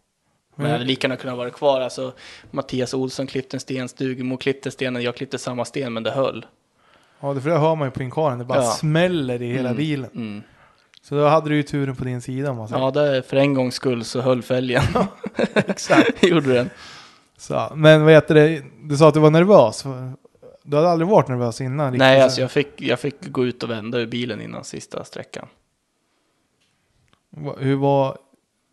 Speaker 3: Men jag hade lika gärna kunnat vara kvar. Alltså, Mattias Olsson klippte en sten, Stugemo klippte stenen, jag klippte samma sten men det höll.
Speaker 1: Ja, det- för det hör man ju på inkaren. Det bara
Speaker 3: Ja.
Speaker 1: smäller i hela
Speaker 3: Mm,
Speaker 1: bilen.
Speaker 3: Mm.
Speaker 1: Så då hade du ju turen på din sida om man säger.
Speaker 3: Ja, det, för en gångs skull så höll fälgen. Exakt. Gjorde den.
Speaker 1: Så, men vad heter det? Du sa att du var nervös. Du hade aldrig varit nervös innan? riktigt
Speaker 3: Nej,
Speaker 1: så-
Speaker 3: alltså jag fick, jag fick gå ut och vända ur bilen innan sista sträckan.
Speaker 1: Va- Hur var...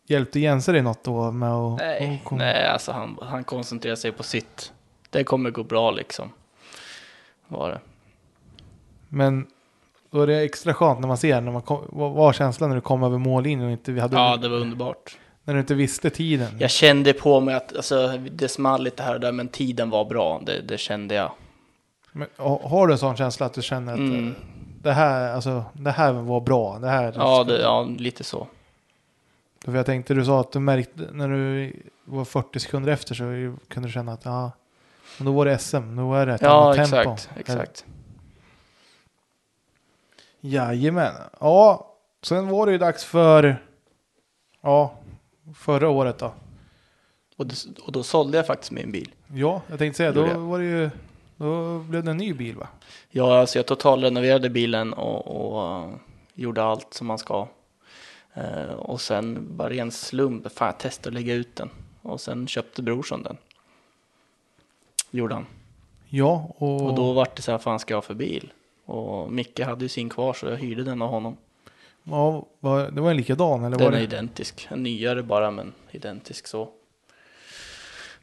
Speaker 1: Hjälpte Jense dig något då med att...
Speaker 3: Nej,
Speaker 1: att komma-
Speaker 3: nej alltså han, han koncentrerar sig på sitt. Det kommer gå bra liksom. Var det.
Speaker 1: Men då är det extra skönt när man ser, när man kom, vad var känslan när du kom över mållinjen och inte, vi hade,
Speaker 3: Ja, det var underbart.
Speaker 1: när du inte visste tiden?
Speaker 3: Jag kände på mig att alltså, det small lite här och där, men tiden var bra. Det, det kände jag.
Speaker 1: Men, ha- har du en sån känsla att du känner att
Speaker 3: Mm.
Speaker 1: eh, det, här, alltså, det här var bra? Det här,
Speaker 3: Ja, det, ja, lite så.
Speaker 1: För jag tänkte, du sa att du märkte, när du var 40 sekunder efter så kunde du känna att ja, men då var det SM, då är det ett
Speaker 3: Ja,
Speaker 1: annat tempo.
Speaker 3: exakt. exakt.
Speaker 1: Jajamän. Ja, sen var det ju dags för, ja, förra året då.
Speaker 3: Och, det, och då sålde jag faktiskt min bil.
Speaker 1: Ja, jag tänkte säga,
Speaker 3: Gjorde
Speaker 1: då
Speaker 3: jag.
Speaker 1: var det ju, då blev det en ny bil va?
Speaker 3: Ja, alltså jag totalrenoverade bilen och, och eh, gjorde allt som man ska. Eh, och sen bara ren slump, fan jag testade att lägga ut den. Och sen köpte brorson den. Gjorde han.
Speaker 1: Ja, och,
Speaker 3: Och då vart det så här, fan ska jag ha för bil? Och Micke hade ju sin kvar så jag hyrde den av honom.
Speaker 1: ja, var, det var en likadan eller? var
Speaker 3: Den är
Speaker 1: det?
Speaker 3: identisk, en nyare bara men identisk så.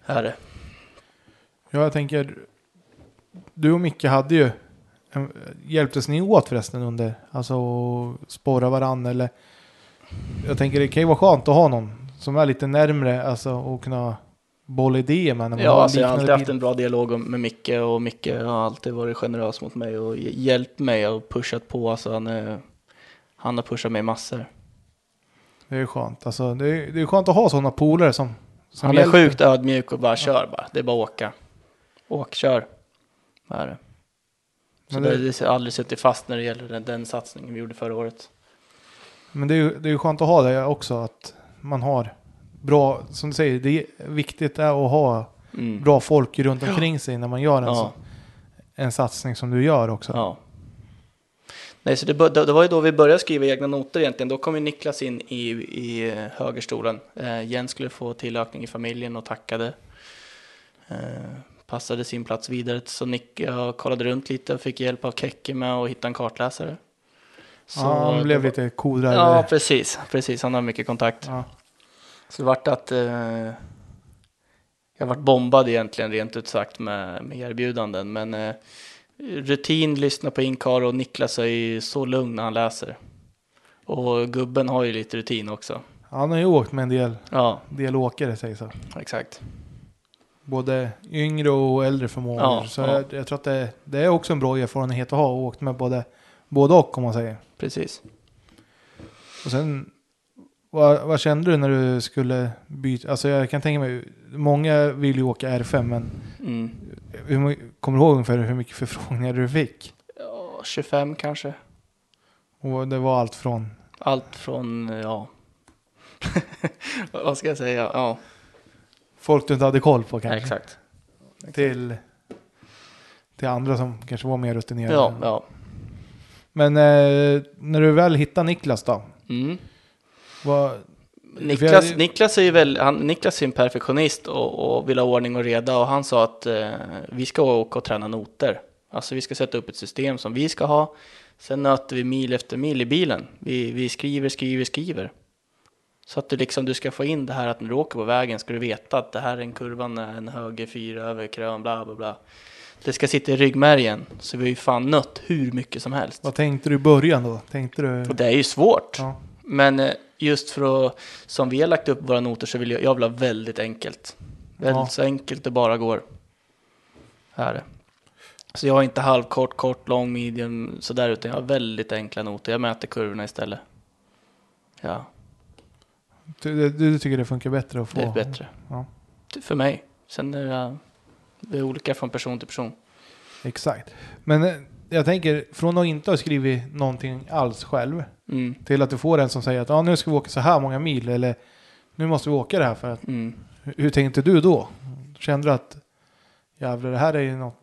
Speaker 3: Här är det.
Speaker 1: Ja, jag tänker, du och Micke hade ju, en- hjälptes ni åt förresten under, alltså att spåra varandra eller? Jag tänker det kan ju vara skönt att ha någon som är lite närmre, alltså och kunna bolla idéer med. När man
Speaker 3: Ja,
Speaker 1: har
Speaker 3: alltså jag har alltid
Speaker 1: liknande
Speaker 3: haft en bra dialog om- med Micke och Micke har alltid varit generös mot mig och hj- hjälpt mig och pushat på. Alltså han, är, han har pushat mig massor.
Speaker 1: Det är skönt, alltså det är, det är skönt att ha sådana polare som, som
Speaker 3: Han är
Speaker 1: hjälper.
Speaker 3: sjukt ödmjuk och bara kör bara. Det är bara att åka. Åk, kör. Vad Är det. Så
Speaker 1: Men
Speaker 3: det...
Speaker 1: det-
Speaker 3: det har aldrig suttit fast när det gäller den, den satsningen vi gjorde förra året.
Speaker 1: Men det är ju det är ju skönt att ha det också, att man har bra, som du säger, det är viktigt är att ha
Speaker 3: Mm.
Speaker 1: bra folk runt omkring sig när man gör en,
Speaker 3: Ja.
Speaker 1: så, en satsning som du gör också.
Speaker 3: Ja. Nej, så det, bör- det, det var ju då vi började skriva egna noter egentligen. Då kom ju Niklas in i, i eh, högerstolen. Eh, Jens skulle få tillökning i familjen och tackade. Eh, passade sin plats vidare. Så Nick, jag kollade runt lite och fick hjälp av Kekke med att hitta en kartläsare. Så
Speaker 1: ja, han blev
Speaker 3: det-
Speaker 1: lite coolare.
Speaker 3: Ja, precis. Precis, han har mycket kontakt.
Speaker 1: Ja.
Speaker 3: Så det vart att eh, jag vart bombad egentligen rent ut sagt med, med erbjudanden. Men eh, rutin, lyssna på Inkar och Niklas är ju så lugn när han läser. Och gubben har ju lite rutin också.
Speaker 1: Han har ju åkt med en del,
Speaker 3: Ja,
Speaker 1: del åkare sägs det.
Speaker 3: exakt.
Speaker 1: Både yngre och äldre förmågor.
Speaker 3: Ja,
Speaker 1: så
Speaker 3: ja.
Speaker 1: Jag, jag tror att det, det är också en bra erfarenhet att ha och åkt med både, både och om man säger.
Speaker 3: Precis.
Speaker 1: Och sen, vad, vad kände du när du skulle byta? Alltså jag kan tänka mig, många vill ju åka R5 men
Speaker 3: Mm.
Speaker 1: hur, mu- kommer du ihåg ungefär hur mycket förfrågningar du fick?
Speaker 3: Ja, 25 kanske.
Speaker 1: Och det var allt från,
Speaker 3: Allt från, ja. Vad ska jag säga? Ja,
Speaker 1: folk du inte hade koll på kanske,
Speaker 3: exakt.
Speaker 1: till, till andra som kanske var mer rutinerade.
Speaker 3: Ja, ja.
Speaker 1: Men eh, när du väl hittar Niklas då?
Speaker 3: Mm.
Speaker 1: Vad,
Speaker 3: Niklas,
Speaker 1: Vi-
Speaker 3: Niklas är ju väl, han, Niklas är en perfektionist och, och vill ha ordning och reda och han sa att eh, vi ska åka och träna noter. Alltså vi ska sätta upp ett system som vi ska ha. Sen nöter vi mil efter mil i bilen. Vi, vi skriver, skriver, skriver. Så att du liksom, du ska få in det här att när du åker på vägen ska du veta att det här är en kurvan, en höger fyra över krön, bla bla bla. Det ska sitta i ryggmärgen. Så vi har ju fan nött hur mycket som helst.
Speaker 1: vad tänkte du i början då? Tänkte du?
Speaker 3: Och det är ju svårt.
Speaker 1: Ja.
Speaker 3: Men eh, just för att, som vi har lagt upp våra noter så vill jag, jag vill ha väldigt enkelt. Väldigt
Speaker 1: Ja.
Speaker 3: så enkelt det bara går. Här. är det. Så jag har inte halvkort, kort, lång, medium sådär utan jag har väldigt enkla noter. Jag mäter kurvorna istället. Ja,
Speaker 1: Du, du tycker det funkar bättre att få?
Speaker 3: det är bättre.
Speaker 1: Ja.
Speaker 3: Det- För mig. Sen är det, det är olika från person till person.
Speaker 1: Exakt. Men eh, jag tänker, från att inte ha skrivit någonting alls själv
Speaker 3: Mm,
Speaker 1: till att du får en som säger att ah, nu ska vi åka så här många mil eller nu måste vi åka det här för att
Speaker 3: mm.
Speaker 1: hur- hur tänkte du då? Kände du att jävlar det här är ju något?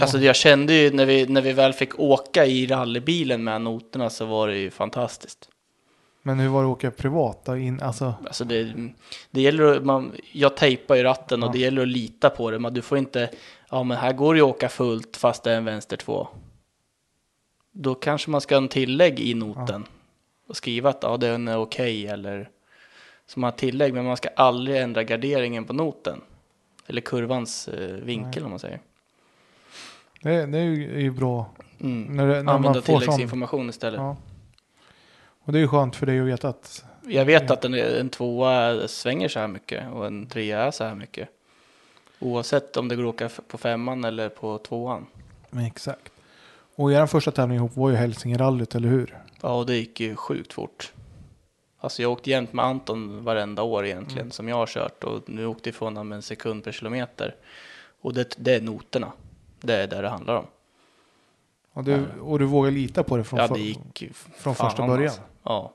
Speaker 3: Alltså jag kände ju när vi, när vi väl fick åka i rallybilen med noterna så var det ju fantastiskt.
Speaker 1: Men hur var det att åka privat då? In, alltså,
Speaker 3: Alltså det, det gäller att, man, jag tejpar ju ratten och
Speaker 1: Ja.
Speaker 3: det gäller att lita på det. Men du får inte, ja men här går det ju att åka fullt fast det är en vänster två. Då kanske man ska ha en tillägg i noten och skriva att ja, den är okej eller som har tillägg. Men man ska aldrig ändra garderingen på noten. Eller kurvans eh, vinkel om man säger.
Speaker 1: det, det är ju är ju bra.
Speaker 3: Mm.
Speaker 1: När, det- när
Speaker 3: Använda
Speaker 1: man får sån,
Speaker 3: tilläggsinformation istället.
Speaker 1: Ja. Och det är ju skönt för dig att veta att
Speaker 3: Jag vet att en, en tvåa svänger så här mycket och en trea är så här mycket. Oavsett om det går att åka f- på femman eller på tvåan.
Speaker 1: Men Exakt. Och er första tävling ihop var ju Hälsingerallyt, eller hur?
Speaker 3: Ja, och det gick ju sjukt fort. Alltså jag åkte jämt med Anton varenda år egentligen
Speaker 1: Mm.
Speaker 3: som jag har kört och nu åkte ifrån honom en sekund per kilometer. Och det, det är noterna. Det är det det handlar om.
Speaker 1: Och du, och du vågar lita på det från,
Speaker 3: Ja,
Speaker 1: för-
Speaker 3: det gick ju f-
Speaker 1: från
Speaker 3: fan,
Speaker 1: första början.
Speaker 3: Alltså. Ja.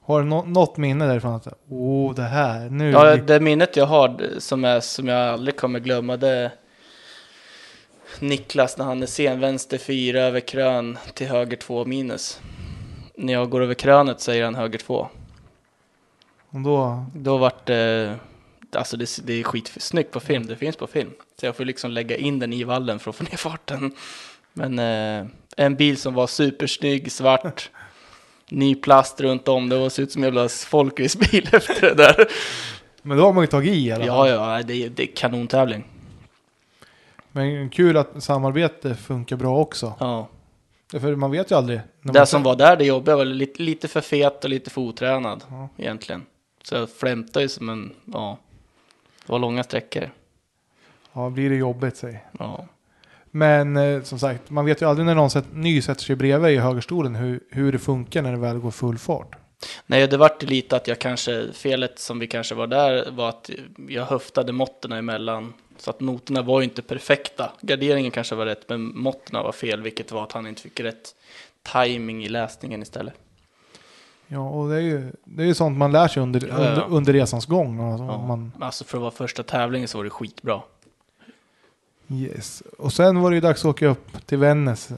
Speaker 1: Har du nå- något minne därifrån att åh, det här, nu...
Speaker 3: Ja, det minnet jag har som, är, som jag aldrig kommer glömma det är Niklas när han är sen, vänster 4 över krön till höger 2 minus. När jag går över krönet säger han höger 2.
Speaker 1: Och då,
Speaker 3: Då vart det, alltså det, det är skitsnyggt på film, det finns på film. Så jag får liksom lägga in den i vallen för att få ner farten. Men eh, en bil som var supersnygg, svart, ny plast runt om, det såg ut som en jävla folkracebil efter det där.
Speaker 1: men då har man ju tagit i eller?
Speaker 3: Ja, ja, det, är- det är kanontävling.
Speaker 1: Men kul att samarbete funkar bra också.
Speaker 3: Ja.
Speaker 1: För man vet ju aldrig. när
Speaker 3: Det
Speaker 1: man-
Speaker 3: som var där det jobbiga var lite, lite för fet och lite för otränad
Speaker 1: Ja.
Speaker 3: egentligen. Så jag flämtade ju som en, ja, det var långa sträckor.
Speaker 1: Ja, blir det jobbigt sig.
Speaker 3: Ja,
Speaker 1: Men eh, som sagt, man vet ju aldrig när någon sätt, ny sätter sig bredvid i högerstolen hur, hur det funkar när det väl går full fart.
Speaker 3: Nej, det vart ju lite att jag kanske, felet som vi kanske var där var att jag höftade måtten emellan. Så att noterna var ju inte perfekta. Garderingen kanske var rätt, men måtten var fel, vilket var att han inte fick rätt timing i läsningen istället.
Speaker 1: Ja, och det är ju, det är ju sånt man lär sig under,
Speaker 3: Ja, ja.
Speaker 1: under, under resans gång. Alltså,
Speaker 3: Ja.
Speaker 1: man,
Speaker 3: Men Alltså för att vara första tävlingen så var det skitbra.
Speaker 1: Yes. Och sen var det ju dags att åka upp till Vännäs.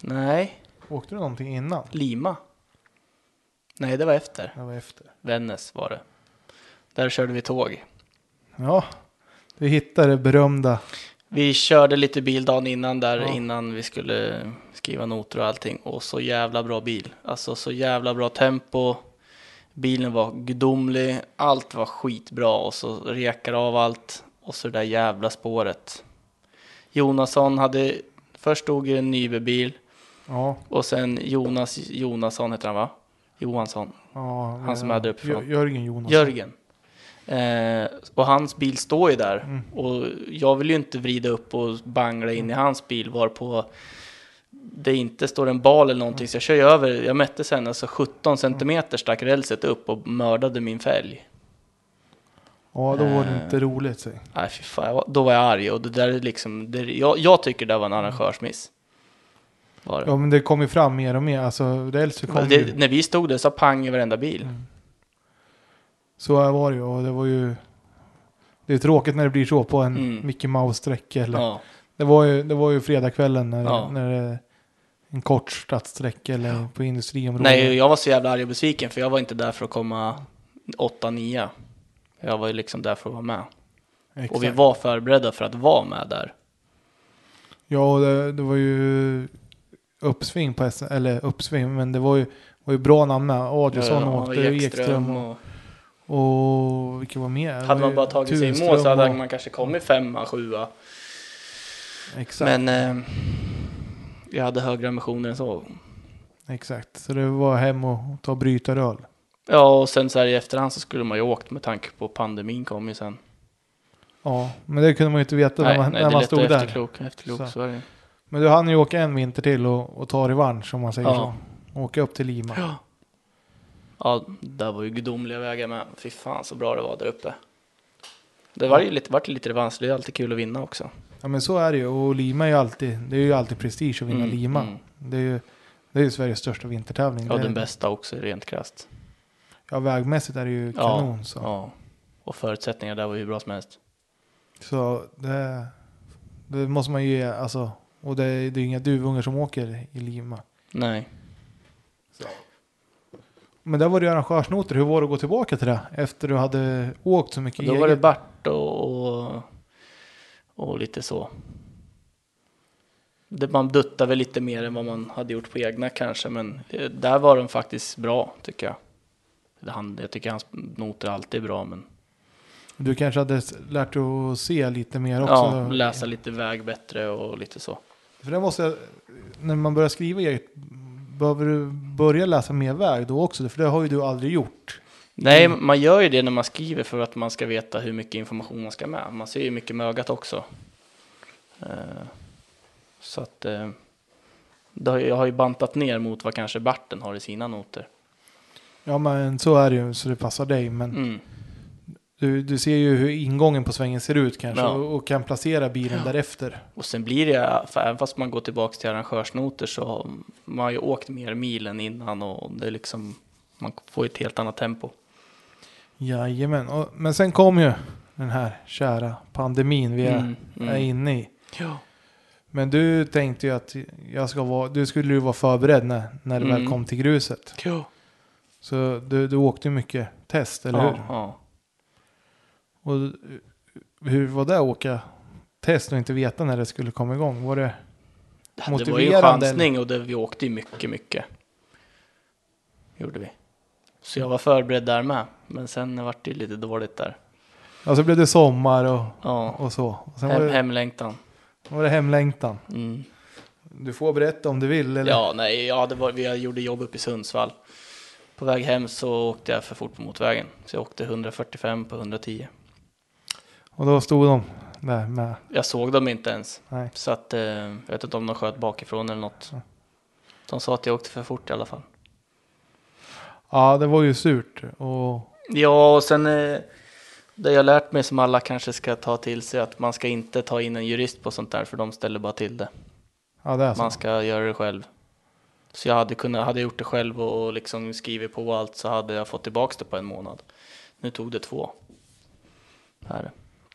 Speaker 3: Nej,
Speaker 1: Åkte du någonting innan?
Speaker 3: Lima? Nej, det var efter.
Speaker 1: Det var efter.
Speaker 3: Vännäs var det. Där körde vi tåg.
Speaker 1: Ja, du hittade det berömda.
Speaker 3: Vi körde lite bil dagen innan där,
Speaker 1: Ja.
Speaker 3: innan vi skulle skriva noter och allting. Och så jävla bra bil. Alltså så jävla bra tempo. Bilen var gudomlig, allt var skitbra och så rekar av allt. Och så det där jävla spåret. Jonasson hade, först stod ju en Nybe-bil
Speaker 1: Ja,
Speaker 3: och sen Jonas Jonasson heter han va? Johansson.
Speaker 1: ja,
Speaker 3: Han som hade uppifrån.
Speaker 1: Jö- Jörgen Jonas.
Speaker 3: Jörgen. Eh, och hans bil står ju där.
Speaker 1: Mm.
Speaker 3: Och jag vill ju inte vrida upp och bangla in i hans bil varpå det inte står en bal eller
Speaker 1: Mm.
Speaker 3: någonting. Så jag kör ju över, jag mätte sen, alltså 17 centimeter stack rälset upp och mördade min fälg.
Speaker 1: Ja, då var det
Speaker 3: Eh.
Speaker 1: inte roligt. säg.
Speaker 3: Nej fy fan, jag var, då var jag arg och det där är liksom, det, jag, jag tycker det var en arrangörsmiss. Var det.
Speaker 1: Mm. Ja, men det kom ju fram mer och mer. Alltså, Rälset kom
Speaker 3: Men det,
Speaker 1: ju.
Speaker 3: när vi stod där så pang i varenda bil.
Speaker 1: Så här var det ju. Och det var ju... Det är tråkigt när det blir så på en
Speaker 3: Mm.
Speaker 1: Mickey Mouse-sträcka. Eller...
Speaker 3: Ja.
Speaker 1: Det, var ju, det var ju fredagskvällen när,
Speaker 3: Ja.
Speaker 1: när det, en kort stadssträcka eller på industriområdet.
Speaker 3: Nej, jag var så jävla arg och besviken för jag var inte där för att komma 8-9. Jag var ju liksom där för att vara med.
Speaker 1: Exakt.
Speaker 3: Och vi var förberedda för att vara med där.
Speaker 1: Ja, och det, det var ju uppsving på SM, eller uppsving, men det var ju, var ju bra namn med. Adielsson
Speaker 3: Ja,
Speaker 1: åkte, och Ekström och,
Speaker 3: och...
Speaker 1: och vilka var mer? Det var
Speaker 3: Hade man
Speaker 1: ju
Speaker 3: bara tagit sig i mål
Speaker 1: Tunström
Speaker 3: så hade
Speaker 1: och-
Speaker 3: man kanske kommit femma, sjua.
Speaker 1: Exakt,
Speaker 3: Men eh, jag hade högre ambitioner än så.
Speaker 1: exakt. Så det var hem och ta brytaröl.
Speaker 3: Ja, och sen så här i efterhand så skulle man ju åkt med tanke på pandemin kom ju sen.
Speaker 1: Ja, men det kunde man ju inte veta när man, när
Speaker 3: det är
Speaker 1: man
Speaker 3: lätt att
Speaker 1: stod där.
Speaker 3: efterklok, efterklok
Speaker 1: Så.
Speaker 3: så. är det.
Speaker 1: Men du hann ju åka en vinter till och, och ta revansch om man säger
Speaker 3: Ja.
Speaker 1: så. Åka upp till Lima.
Speaker 3: Ja. Ja, där var ju gudomliga vägar med. Fy fan så bra det var där uppe. Det var ju lite, vart lite revansch, det är alltid kul att vinna också.
Speaker 1: Ja men så är det ju. Och Lima är ju alltid, det är ju alltid prestige att vinna
Speaker 3: Mm,
Speaker 1: Lima.
Speaker 3: mm.
Speaker 1: Det är ju det är ju Sveriges största vintertävling.
Speaker 3: Ja,
Speaker 1: Det är-
Speaker 3: den bästa också rent krasst.
Speaker 1: Ja, vägmässigt är det ju
Speaker 3: Ja,
Speaker 1: kanon. Så,
Speaker 3: Ja. Och förutsättningarna där var ju hur bra som helst.
Speaker 1: så det, det måste man ju ge. Alltså, och det, det är inga duvungar som åker i Lima.
Speaker 3: Nej.
Speaker 1: Men där var det ju arrangörsnoter. Hur var det att gå tillbaka till det? Efter du hade åkt så mycket
Speaker 3: Då var det
Speaker 1: eget?
Speaker 3: Bart och, och, och lite så. Det, man duttade väl lite mer än vad man hade gjort på egna kanske, men eh, där var den faktiskt bra tycker jag. Han, jag tycker hans noter alltid är bra, men
Speaker 1: Du kanske hade s- lärt dig att se lite mer också?
Speaker 3: ja, läsa lite väg bättre och lite så.
Speaker 1: För det måste jag, när man börjar skriva eget, behöver du börja läsa mer väg då också? För det har ju du aldrig gjort.
Speaker 3: Nej,
Speaker 1: Mm.
Speaker 3: man gör ju det när man skriver för att man ska veta hur mycket information man ska med. Man ser ju mycket med ögat också. Eh, Så att eh, det har ju- jag har ju bantat ner mot vad kanske Barten har i sina noter.
Speaker 1: Ja men så är det ju, så det passar dig. Men
Speaker 3: Mm.
Speaker 1: du, du ser ju hur ingången på svängen ser ut kanske
Speaker 3: Ja.
Speaker 1: och, och kan placera bilen därefter.
Speaker 3: Och sen blir det, för även fast man går tillbaka till arrangörsnoter så har man har ju åkt mer milen innan och det är liksom, man får ju ett helt annat tempo.
Speaker 1: Jajamän, och, men sen kom ju den här kära pandemin vi är,
Speaker 3: Mm, mm.
Speaker 1: är inne i.
Speaker 3: Ja.
Speaker 1: Men du tänkte ju att jag ska vara, du skulle ju vara förberedd när, när det väl
Speaker 3: Mm.
Speaker 1: kom till gruset.
Speaker 3: Ja.
Speaker 1: Så du, du åkte ju mycket test, eller hur?
Speaker 3: ja.
Speaker 1: Och hur var det att åka test och inte veta när det skulle komma igång? Var det,
Speaker 3: Det var ju en
Speaker 1: Motiverande,
Speaker 3: chansning och det, vi åkte ju mycket, mycket. Gjorde vi. Så jag var förberedd där med. Men sen vart det ju lite dåligt där.
Speaker 1: alltså blev det sommar och,
Speaker 3: Ja,
Speaker 1: och så. Och sen var
Speaker 3: hem,
Speaker 1: det,
Speaker 3: hemlängtan.
Speaker 1: var det hemlängtan.
Speaker 3: Mm.
Speaker 1: Du får berätta om du vill. Eller?
Speaker 3: Ja, nej, ja, det var, vi gjorde jobb uppe i Sundsvall. På väg hem så åkte jag för fort på motvägen. Så jag åkte 145 på 110.
Speaker 1: Och då stod de där med.
Speaker 3: Jag såg dem inte ens.
Speaker 1: Nej.
Speaker 3: Så att, eh, jag vet inte om de sköt bakifrån eller något. De sa att jag åkte för fort i alla fall.
Speaker 1: Ja, det var ju surt. Och,
Speaker 3: Ja, och sen eh, det jag lärt mig som alla kanske ska ta till sig att man ska inte ta in en jurist på sånt där för de ställer bara till det.
Speaker 1: ja, det är så.
Speaker 3: Man ska göra det själv. Så jag hade kunnat, hade jag gjort det själv och, och liksom skrivit på allt så hade jag fått tillbaka det på en månad. Nu tog det två. Här.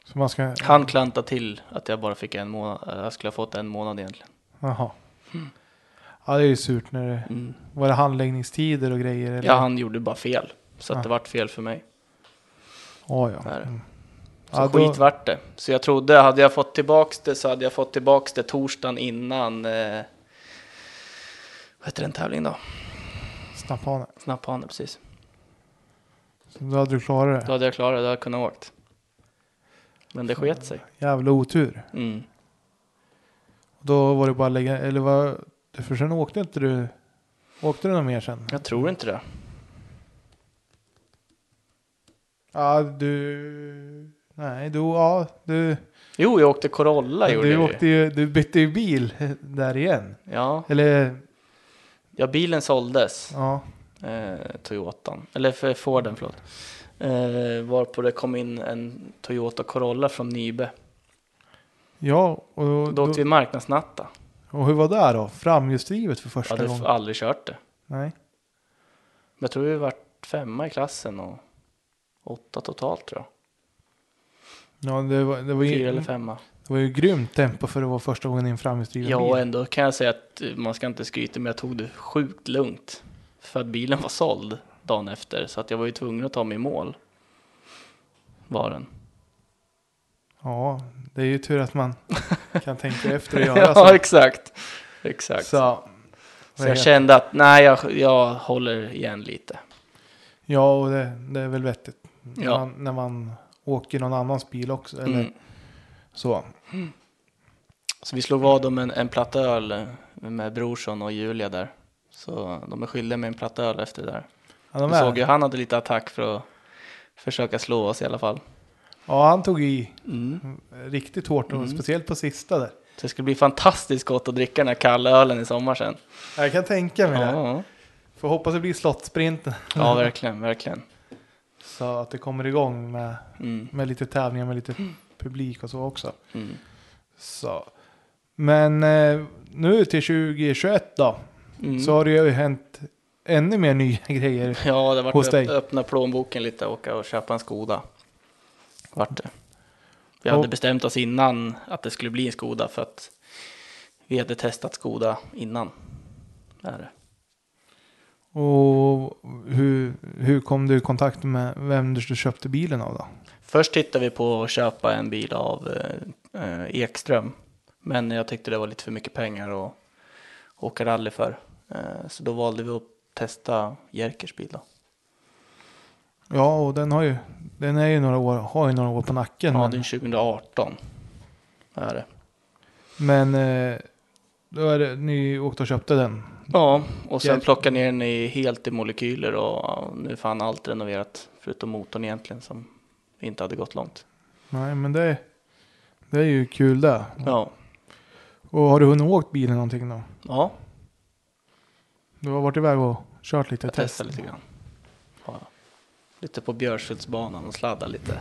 Speaker 1: Så man ska,
Speaker 3: Han klantade till att jag bara fick en månad, eh, jag skulle ha fått en månad egentligen.
Speaker 1: Jaha. Ja, det är ju surt när det...
Speaker 3: Mm.
Speaker 1: Var det handläggningstider och grejer? Eller?
Speaker 3: Ja, han gjorde bara fel. Så att
Speaker 1: Ja.
Speaker 3: det vart fel för mig.
Speaker 1: Ja, ja.
Speaker 3: Det är det.
Speaker 1: Mm.
Speaker 3: Så
Speaker 1: Ja, då-
Speaker 3: skit vart det. Så jag trodde, hade jag fått tillbaks det så hade jag fått tillbaks det torsdagen innan... Eh, vad heter den tävlingen då?
Speaker 1: Snapphanen.
Speaker 3: Snapphanen, precis.
Speaker 1: Så Då hade du klarat
Speaker 3: Då
Speaker 1: det.
Speaker 3: hade jag klarat det, då hade jag kunnat åkt. Men det sket sig.
Speaker 1: Jävla otur.
Speaker 3: Mm.
Speaker 1: Då var det bara att lägga... Eller vad... För sen åkte inte du... Åkte du något mer sen?
Speaker 3: Jag tror inte det.
Speaker 1: Ja, du... Nej, du... Ja, du...
Speaker 3: Jo, jag åkte Corolla gjorde
Speaker 1: Du,
Speaker 3: jag
Speaker 1: åkte
Speaker 3: ju.
Speaker 1: ju, du bytte ju bil där igen.
Speaker 3: Ja.
Speaker 1: Eller...
Speaker 3: ja, bilen såldes.
Speaker 1: Ja.
Speaker 3: eh, Toyotan, eller för Forden förlåt. Eh, varpå det kom in en Toyota Corolla från Nybe.
Speaker 1: Ja, och,
Speaker 3: Då
Speaker 1: då,
Speaker 3: åkte vi marknadsnatta.
Speaker 1: och hur var det då? Framhjulsdrivet för
Speaker 3: Jag
Speaker 1: första
Speaker 3: hade f-
Speaker 1: gången?
Speaker 3: aldrig kört det.
Speaker 1: Nej.
Speaker 3: Men jag tror vi vart femma i klassen och åtta totalt tror jag.
Speaker 1: Ja, det var, det var,
Speaker 3: Fyra
Speaker 1: ju,
Speaker 3: eller femma.
Speaker 1: det var ju grymt tempo för det var första gången i en framhjulsdriven
Speaker 3: Ja, och
Speaker 1: bil.
Speaker 3: ändå kan jag säga att eh, man ska inte skryta, men jag tog det sjukt lugnt. För att bilen var såld dagen efter, så att jag var ju tvungen att ta mig i mål. Var den.
Speaker 1: Ja, det är ju tur att man kan tänka efter och göra
Speaker 3: Ja,
Speaker 1: så.
Speaker 3: exakt. Exakt.
Speaker 1: så.
Speaker 3: Så,
Speaker 1: vad
Speaker 3: jag
Speaker 1: heter-
Speaker 3: kände att nej, jag, jag håller igen lite.
Speaker 1: Ja, och det, det är väl vettigt.
Speaker 3: Ja.
Speaker 1: När, man, när man åker någon annans bil också. Eller
Speaker 3: Mm.
Speaker 1: så.
Speaker 3: Så vi slog vad om en, en platta öl med Brorsson och Julia där. Så de är skyldiga med en platta öl efter det där.
Speaker 1: Ja, de
Speaker 3: Du
Speaker 1: är-
Speaker 3: såg ju, han hade lite attack för att försöka slå oss i alla fall.
Speaker 1: ja, han tog i
Speaker 3: Mm.
Speaker 1: riktigt hårt. Och
Speaker 3: Mm.
Speaker 1: speciellt på sista där.
Speaker 3: Så det ska bli fantastiskt gott att dricka den här kalla ölen i sommar sen.
Speaker 1: Jag kan tänka mig det. Mm.
Speaker 3: Ja,
Speaker 1: Får hoppas det blir slottsprinten.
Speaker 3: ja verkligen, verkligen.
Speaker 1: Så att det kommer igång med,
Speaker 3: Mm.
Speaker 1: med lite tävlingar, med lite publik och så också.
Speaker 3: Mm.
Speaker 1: Så. Men eh, nu till 2021 då,
Speaker 3: Mm.
Speaker 1: så har det ju hänt ännu mer nya grejer.
Speaker 3: Ja, det
Speaker 1: Hos
Speaker 3: vart
Speaker 1: dig.
Speaker 3: att öppna plånboken lite och åka och köpa en Skoda. Vart det. Vi
Speaker 1: Och-
Speaker 3: hade bestämt oss innan att det skulle bli en Skoda för att vi hade testat Skoda innan. Det är det.
Speaker 1: Och hur, hur kom du i kontakt med vem du köpte bilen av då?
Speaker 3: Först tittade vi på att köpa en bil av eh, eh, Ekström. Men jag tyckte det var lite för mycket pengar att åka rally för. Eh, så då valde vi att testa Jerkers bil då.
Speaker 1: Ja, och den har ju, den är ju några år, har ju några år på nacken.
Speaker 3: Ja, den
Speaker 1: men
Speaker 3: är 2018. Det Är det.
Speaker 1: men eh, då är det, ni åkte och köpte den.
Speaker 3: Ja, och sen
Speaker 1: Jerker.
Speaker 3: plockade ner den i, helt i molekyler och nu är fan allt renoverat. Förutom motorn egentligen som inte hade gått långt.
Speaker 1: Nej, men det, det är ju kul det.
Speaker 3: Ja,
Speaker 1: Och har du hunnit åkt bilen någonting då?
Speaker 3: ja
Speaker 1: Du har varit iväg och kört lite
Speaker 3: jag
Speaker 1: test.
Speaker 3: testade lite grann. Ja. Lite på Björshultsbanan och sladda lite.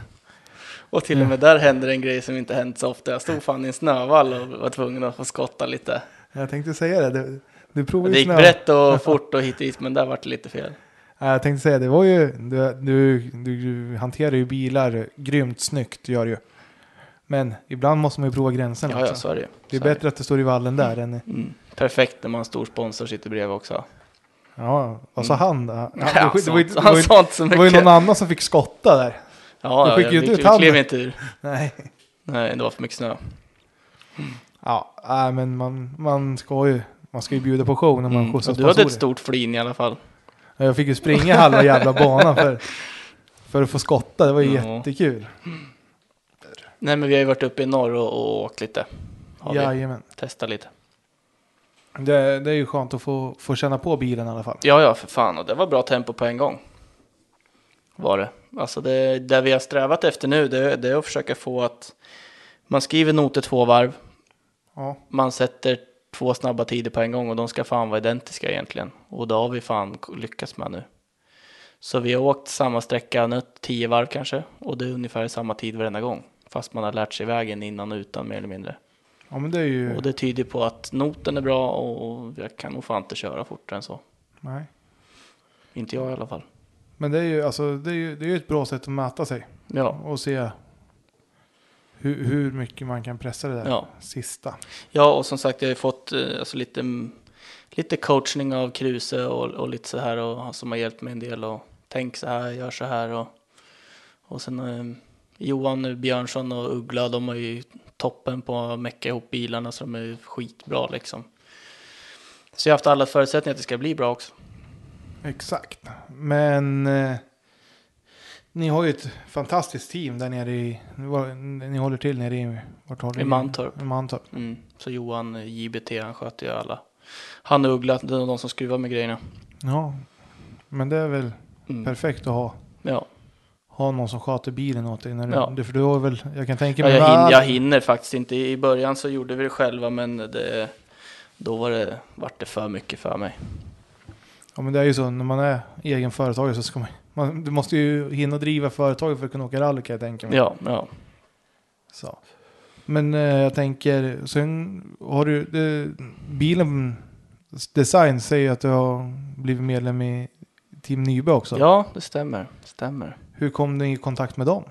Speaker 3: Och till och med där händer en grej som inte hänt så ofta. Jag stod fan i en snövall och var tvungen att få skotta lite.
Speaker 1: Jag tänkte säga det. Du, du provade
Speaker 3: Det
Speaker 1: ju
Speaker 3: gick
Speaker 1: Oh, snö.
Speaker 3: brett och fort och hit dit, men där vart det lite fel.
Speaker 1: Ja, jag tänkte säga det var ju. Du, du, du, du hanterar ju bilar grymt snyggt gör du. Men ibland måste man ju prova gränserna
Speaker 3: Ja, ja,
Speaker 1: också.
Speaker 3: så är det ju.
Speaker 1: Det är
Speaker 3: Så är
Speaker 1: bättre att det står i vallen där än...
Speaker 3: det. Mm. Perfekt när man har en stor sponsor sitter bredvid också.
Speaker 1: Ja, vad sa han då? Ja, det,
Speaker 3: Mm. Ja, alltså,
Speaker 1: var- det, var, ju- det, var,
Speaker 3: han
Speaker 1: ju-
Speaker 3: sa inte så
Speaker 1: det
Speaker 3: mycket.
Speaker 1: var ju någon annan som fick skotta där.
Speaker 3: Ja,
Speaker 1: Du
Speaker 3: ja,
Speaker 1: skickade ju
Speaker 3: vi,
Speaker 1: ut
Speaker 3: vi
Speaker 1: handen.
Speaker 3: klev inte ur.
Speaker 1: Nej.
Speaker 3: Nej, det var för mycket snö.
Speaker 1: Ja, nej, men man, man ska ju... Man ska ju bjuda på show när man
Speaker 3: Mm.
Speaker 1: skjutsar
Speaker 3: Och Du hade ett
Speaker 1: sponsorer.
Speaker 3: stort flin i alla fall.
Speaker 1: Ja, Jag fick ju springa halva jävla banan för, för att få skotta. Det var ju
Speaker 3: Ja.
Speaker 1: jättekul.
Speaker 3: Nej, men vi har ju varit uppe i norr och, och åkt lite. Har vi
Speaker 1: Jajamän.
Speaker 3: testat lite.
Speaker 1: Det, det är ju skönt att få, få känna på bilen i alla fall.
Speaker 3: Ja, ja, för fan. Och det var bra tempo på en gång. Var det. Alltså det, det vi har strävat efter nu, det, det är att försöka få att man skriver noter två varv,
Speaker 1: Ja,
Speaker 3: man sätter två snabba tider på en gång och de ska fan vara identiska egentligen. Och det har vi fan lyckats med nu. Så vi har åkt samma sträcka, nött tio varv kanske, och det är ungefär samma tid varenda gång. Fast man har lärt sig vägen innan och utan mer eller mindre.
Speaker 1: ja men det är ju...
Speaker 3: Och det tyder på att noten är bra och jag kan nog fan inte köra fortare än så.
Speaker 1: Nej.
Speaker 3: Inte jag i alla fall.
Speaker 1: Men det är ju, alltså, det är ju, det är ju ett bra sätt att mäta sig
Speaker 3: Ja,
Speaker 1: och se hur, hur mycket man kan pressa det där
Speaker 3: ja.
Speaker 1: sista.
Speaker 3: ja och som sagt jag har ju fått eh, alltså, lite mm, lite coachning av Kruse och, och lite så här och han som har hjälpt mig en del och tänk så här, gör så här och, och sen eh, Johan Björnsson och Uggla, de har ju toppen på att mecka ihop bilarna så de är ju skitbra liksom. Så jag har haft alla förutsättningar att det ska bli bra också.
Speaker 1: Exakt. Men eh, ni har ju ett fantastiskt team där nere i... var- Ni håller till nere i... Vart håller
Speaker 3: I
Speaker 1: ni?
Speaker 3: Mantorp.
Speaker 1: I Mantorp.
Speaker 3: Mm. Så Johan, eh, JBT, han sköter ju alla. Han och Uggla, det är de som skruvar med grejerna.
Speaker 1: Ja. Men det är väl
Speaker 3: Mm.
Speaker 1: perfekt att ha,
Speaker 3: Ja.
Speaker 1: ha någon som sköter bilen åt dig. När du,
Speaker 3: Ja.
Speaker 1: det, för du har väl... Jag kan tänka
Speaker 3: Ja,
Speaker 1: mig...
Speaker 3: jag, hin-
Speaker 1: att-
Speaker 3: jag hinner faktiskt inte. I början så gjorde vi det själva, men det, då var det, vart det för mycket för mig.
Speaker 1: Ja men det är ju så, när man är egen företagare så ska man, man Du måste ju hinna driva företaget för att kunna åka rally kan jag tänka mig.
Speaker 3: Ja, ja.
Speaker 1: Så. Men eh, jag tänker, sen har du... Det, bilen design säger att du har blivit medlem i Team Nybe också.
Speaker 3: ja det stämmer. stämmer.
Speaker 1: Hur kom du i kontakt med dem?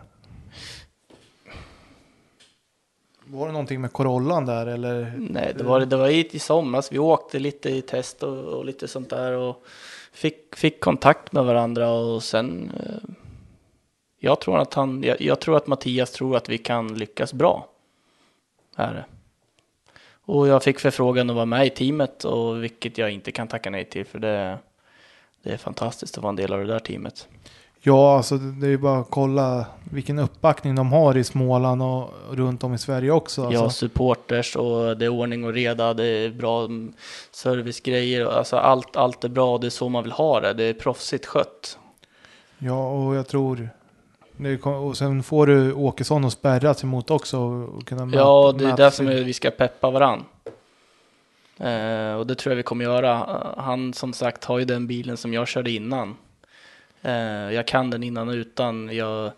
Speaker 1: Var det någonting med Corollan där eller?
Speaker 3: Nej, det var, det var i, i somras. Vi åkte lite i test och, och lite sånt där och fick, fick kontakt med varandra och sen... eh, Jag tror att, han, jag, jag tror att Mattias tror att vi kan lyckas bra. Är det. Och jag fick förfrågan att vara med i teamet och vilket jag inte kan tacka nej till för det, det är fantastiskt att vara en del av det där teamet.
Speaker 1: Ja, alltså det det är ju bara att kolla vilken uppbackning de har i Småland och runt om i Sverige också.
Speaker 3: Jag har
Speaker 1: alltså.
Speaker 3: supporters och det är ordning och reda, det är bra mm, servicegrejer, och alltså allt, allt är bra, det är så man vill ha det, det är proffsigt skött.
Speaker 1: Ja, och jag tror... Det kom, och sen får du Åkesson att spärras emot också. Och kunna
Speaker 3: Ja,
Speaker 1: möta-
Speaker 3: det är
Speaker 1: möta-
Speaker 3: där som är- vi ska peppa varann. Eh, och det tror jag vi kommer göra. Han som sagt har ju den bilen som jag körde innan. Eh, jag kan den innan och utan. Jag,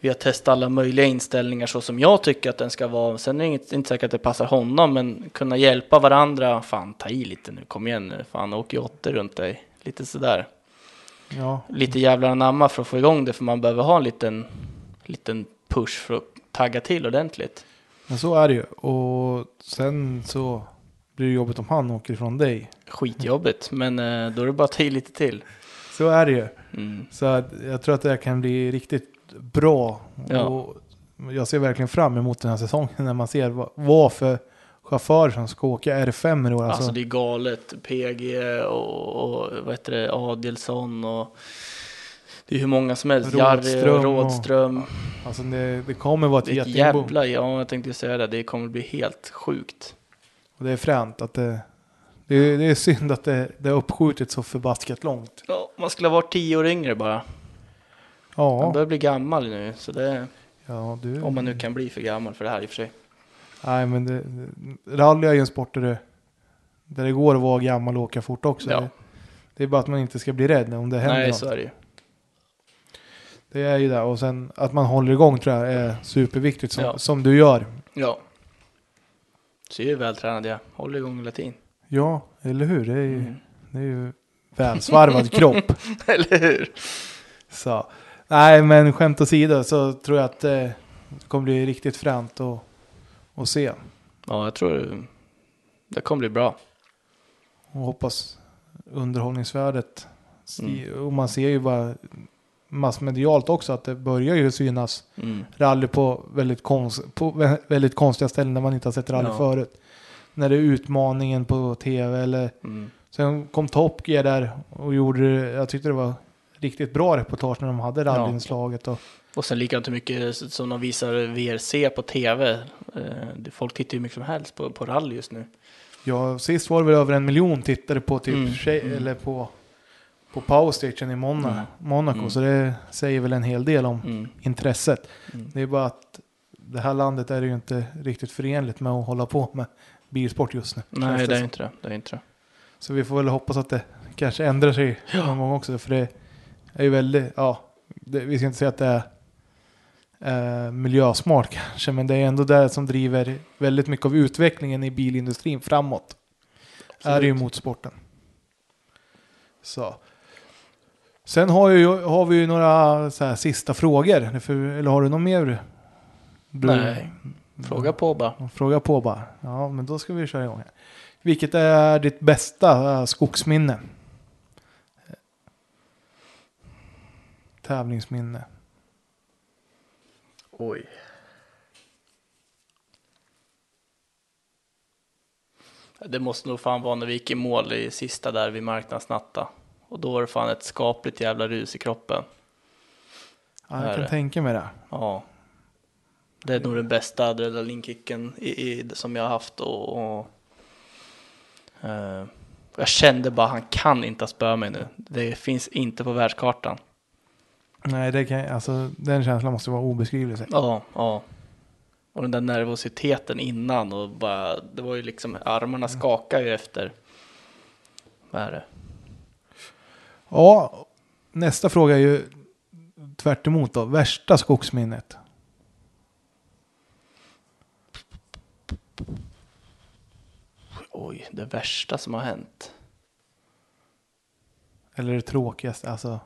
Speaker 3: vi har testat alla möjliga inställningar så som jag tycker att den ska vara. Sen är det inget, inte säkert att det passar honom, men kunna hjälpa varandra. Fan, ta i lite nu, kom igen nu. Fan, åker ju åttor runt dig. Lite sådär
Speaker 1: Ja,
Speaker 3: lite jävlar anamma för att få igång det för man behöver ha en liten, liten push för att tagga till ordentligt.
Speaker 1: men så är det ju. Och sen så blir det jobbigt om han åker ifrån dig.
Speaker 3: Skitjobbigt, men eh, då är det bara att ta i lite till.
Speaker 1: Så är det ju.
Speaker 3: Mm.
Speaker 1: Så att jag tror att det här kan bli riktigt bra.
Speaker 3: Ja.
Speaker 1: Och jag ser verkligen fram emot den här säsongen när man ser vad, vad för chaufförer som ska åka R5 i år.
Speaker 3: Alltså
Speaker 1: Alltså,
Speaker 3: det är galet. PG och, och vad heter det, Adelsson och det är hur många som helst. Jarvi
Speaker 1: Rådström
Speaker 3: och
Speaker 1: och-
Speaker 3: Rådström.
Speaker 1: alltså det, det kommer vara ett
Speaker 3: det är ett
Speaker 1: jättebo.
Speaker 3: jävla, ja jag tänkte säga det, det kommer bli helt sjukt.
Speaker 1: Och det är fränt att det, det, är, det är synd att det, det har uppskjutit så förbaskat långt.
Speaker 3: Ja, man skulle ha varit tio år yngre bara. Man
Speaker 1: Ja,
Speaker 3: börjar bli gammal nu, så det,
Speaker 1: ja du.
Speaker 3: om man nu kan bli för gammal för det här i och för sig.
Speaker 1: Nej, men det, det- rally är ju en sport där det, där det går att vara gammal och åka fort också.
Speaker 3: Ja.
Speaker 1: Det, det är bara att man inte ska bli rädd om det händer
Speaker 3: Nej,
Speaker 1: något.
Speaker 3: så är det ju.
Speaker 1: Det är ju det. Och sen att man håller igång tror jag är superviktigt som,
Speaker 3: Ja.
Speaker 1: som du gör.
Speaker 3: Ja. Ser ju vältränad jag. Håller igång hela tiden.
Speaker 1: Ja, eller hur? Det är ju,
Speaker 3: Mm.
Speaker 1: det är ju välsvarvad kropp.
Speaker 3: Eller hur?
Speaker 1: Så. Nej, men skämt åsido så tror jag att eh, det kommer bli riktigt fränt att, att se.
Speaker 3: Ja, jag tror det kommer bli bra.
Speaker 1: Och hoppas underhållningsvärdet. sti-
Speaker 3: Mm.
Speaker 1: Och man ser ju bara massmedialt också att det börjar ju synas
Speaker 3: Mm.
Speaker 1: rally på väldigt, konst, på vä- väldigt konstiga ställen där man inte har sett rally
Speaker 3: Ja.
Speaker 1: förut. När det är utmaningen på tv eller
Speaker 3: Mm.
Speaker 1: sen kom Top Gear där och gjorde det- jag tyckte det var riktigt bra reportage när de hade rallyinslaget och
Speaker 3: Och sen likadant hur mycket som de visar VRC på tv. Eh, det- Folk tittar ju hur mycket som helst på, på rally just nu.
Speaker 1: ja, sist var det väl över en miljon tittare på typ
Speaker 3: Mm,
Speaker 1: tjej,
Speaker 3: mm.
Speaker 1: eller på på Power Station i Mona,
Speaker 3: Mm.
Speaker 1: Monaco
Speaker 3: Mm.
Speaker 1: så det säger väl en hel del om
Speaker 3: Mm.
Speaker 1: intresset.
Speaker 3: Mm.
Speaker 1: Det är bara att det här landet är ju inte riktigt förenligt med att hålla på med bilsport just nu. känns
Speaker 3: Nej, det är
Speaker 1: som.
Speaker 3: inte det. det, är inte det.
Speaker 1: Så vi får väl hoppas att det kanske ändrar sig någon gång också. För det är ju väldigt, ja, det, vi ska inte säga att det är eh, miljösmart kanske, men det är ändå det som driver väldigt mycket av utvecklingen i bilindustrin framåt. Är det ju motorsporten. Så. Sen har, ju, har vi ju några så här, sista frågor. För, eller har du något mer? Du,
Speaker 3: Nej. Fråga på bara.
Speaker 1: Fråga på bara. Ja, men då ska vi köra igång här. Vilket är ditt bästa eh, skogsminne? Tävlingsminne.
Speaker 3: Oj. Det måste nog fan vara när vi gick i mål i sista där vid marknadsnatta. Och då var det fan ett skapligt jävla rus i kroppen.
Speaker 1: Ja,
Speaker 3: Är
Speaker 1: jag kan
Speaker 3: det?
Speaker 1: tänka mig det.
Speaker 3: Ja. Det är nog den bästa adrenalinkicken i, i, som jag har haft och, och eh, jag kände bara han kan inte ha spöat mig nu. Det finns inte på världskartan.
Speaker 1: Nej, det kan, alltså, den känslan måste vara obeskrivlig. säkert.
Speaker 3: Ja, ja. Och den där nervositeten innan och bara, det var ju liksom, armarna skakar ju efter. Vad är det?
Speaker 1: Ja, nästa fråga är ju tvärt emot då. Värsta skogsminnet?
Speaker 3: Oj, det värsta som har hänt.
Speaker 1: Eller det tråkigaste? Alltså,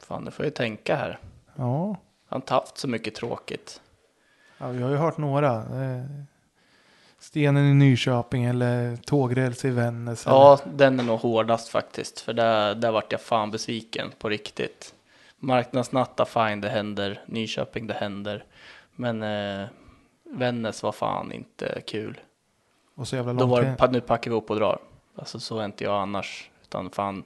Speaker 3: Fan, nu får jag ju tänka här.
Speaker 1: ja.
Speaker 3: Han har inte haft så mycket tråkigt.
Speaker 1: ja vi har ju hört några. Eh, Stenen i Nyköping eller tågräls i Vännäs.
Speaker 3: Ja, den är nog hårdast faktiskt, för där, där vart jag fan besviken på riktigt. Marknadsnatta, fine, det händer. Nyköping, det händer. Men eh, Vännäs var fan inte kul.
Speaker 1: Och så jävla
Speaker 3: Då var det,
Speaker 1: långt.
Speaker 3: pa- nu packar vi upp och drar. Alltså så är inte jag annars. Utan fan,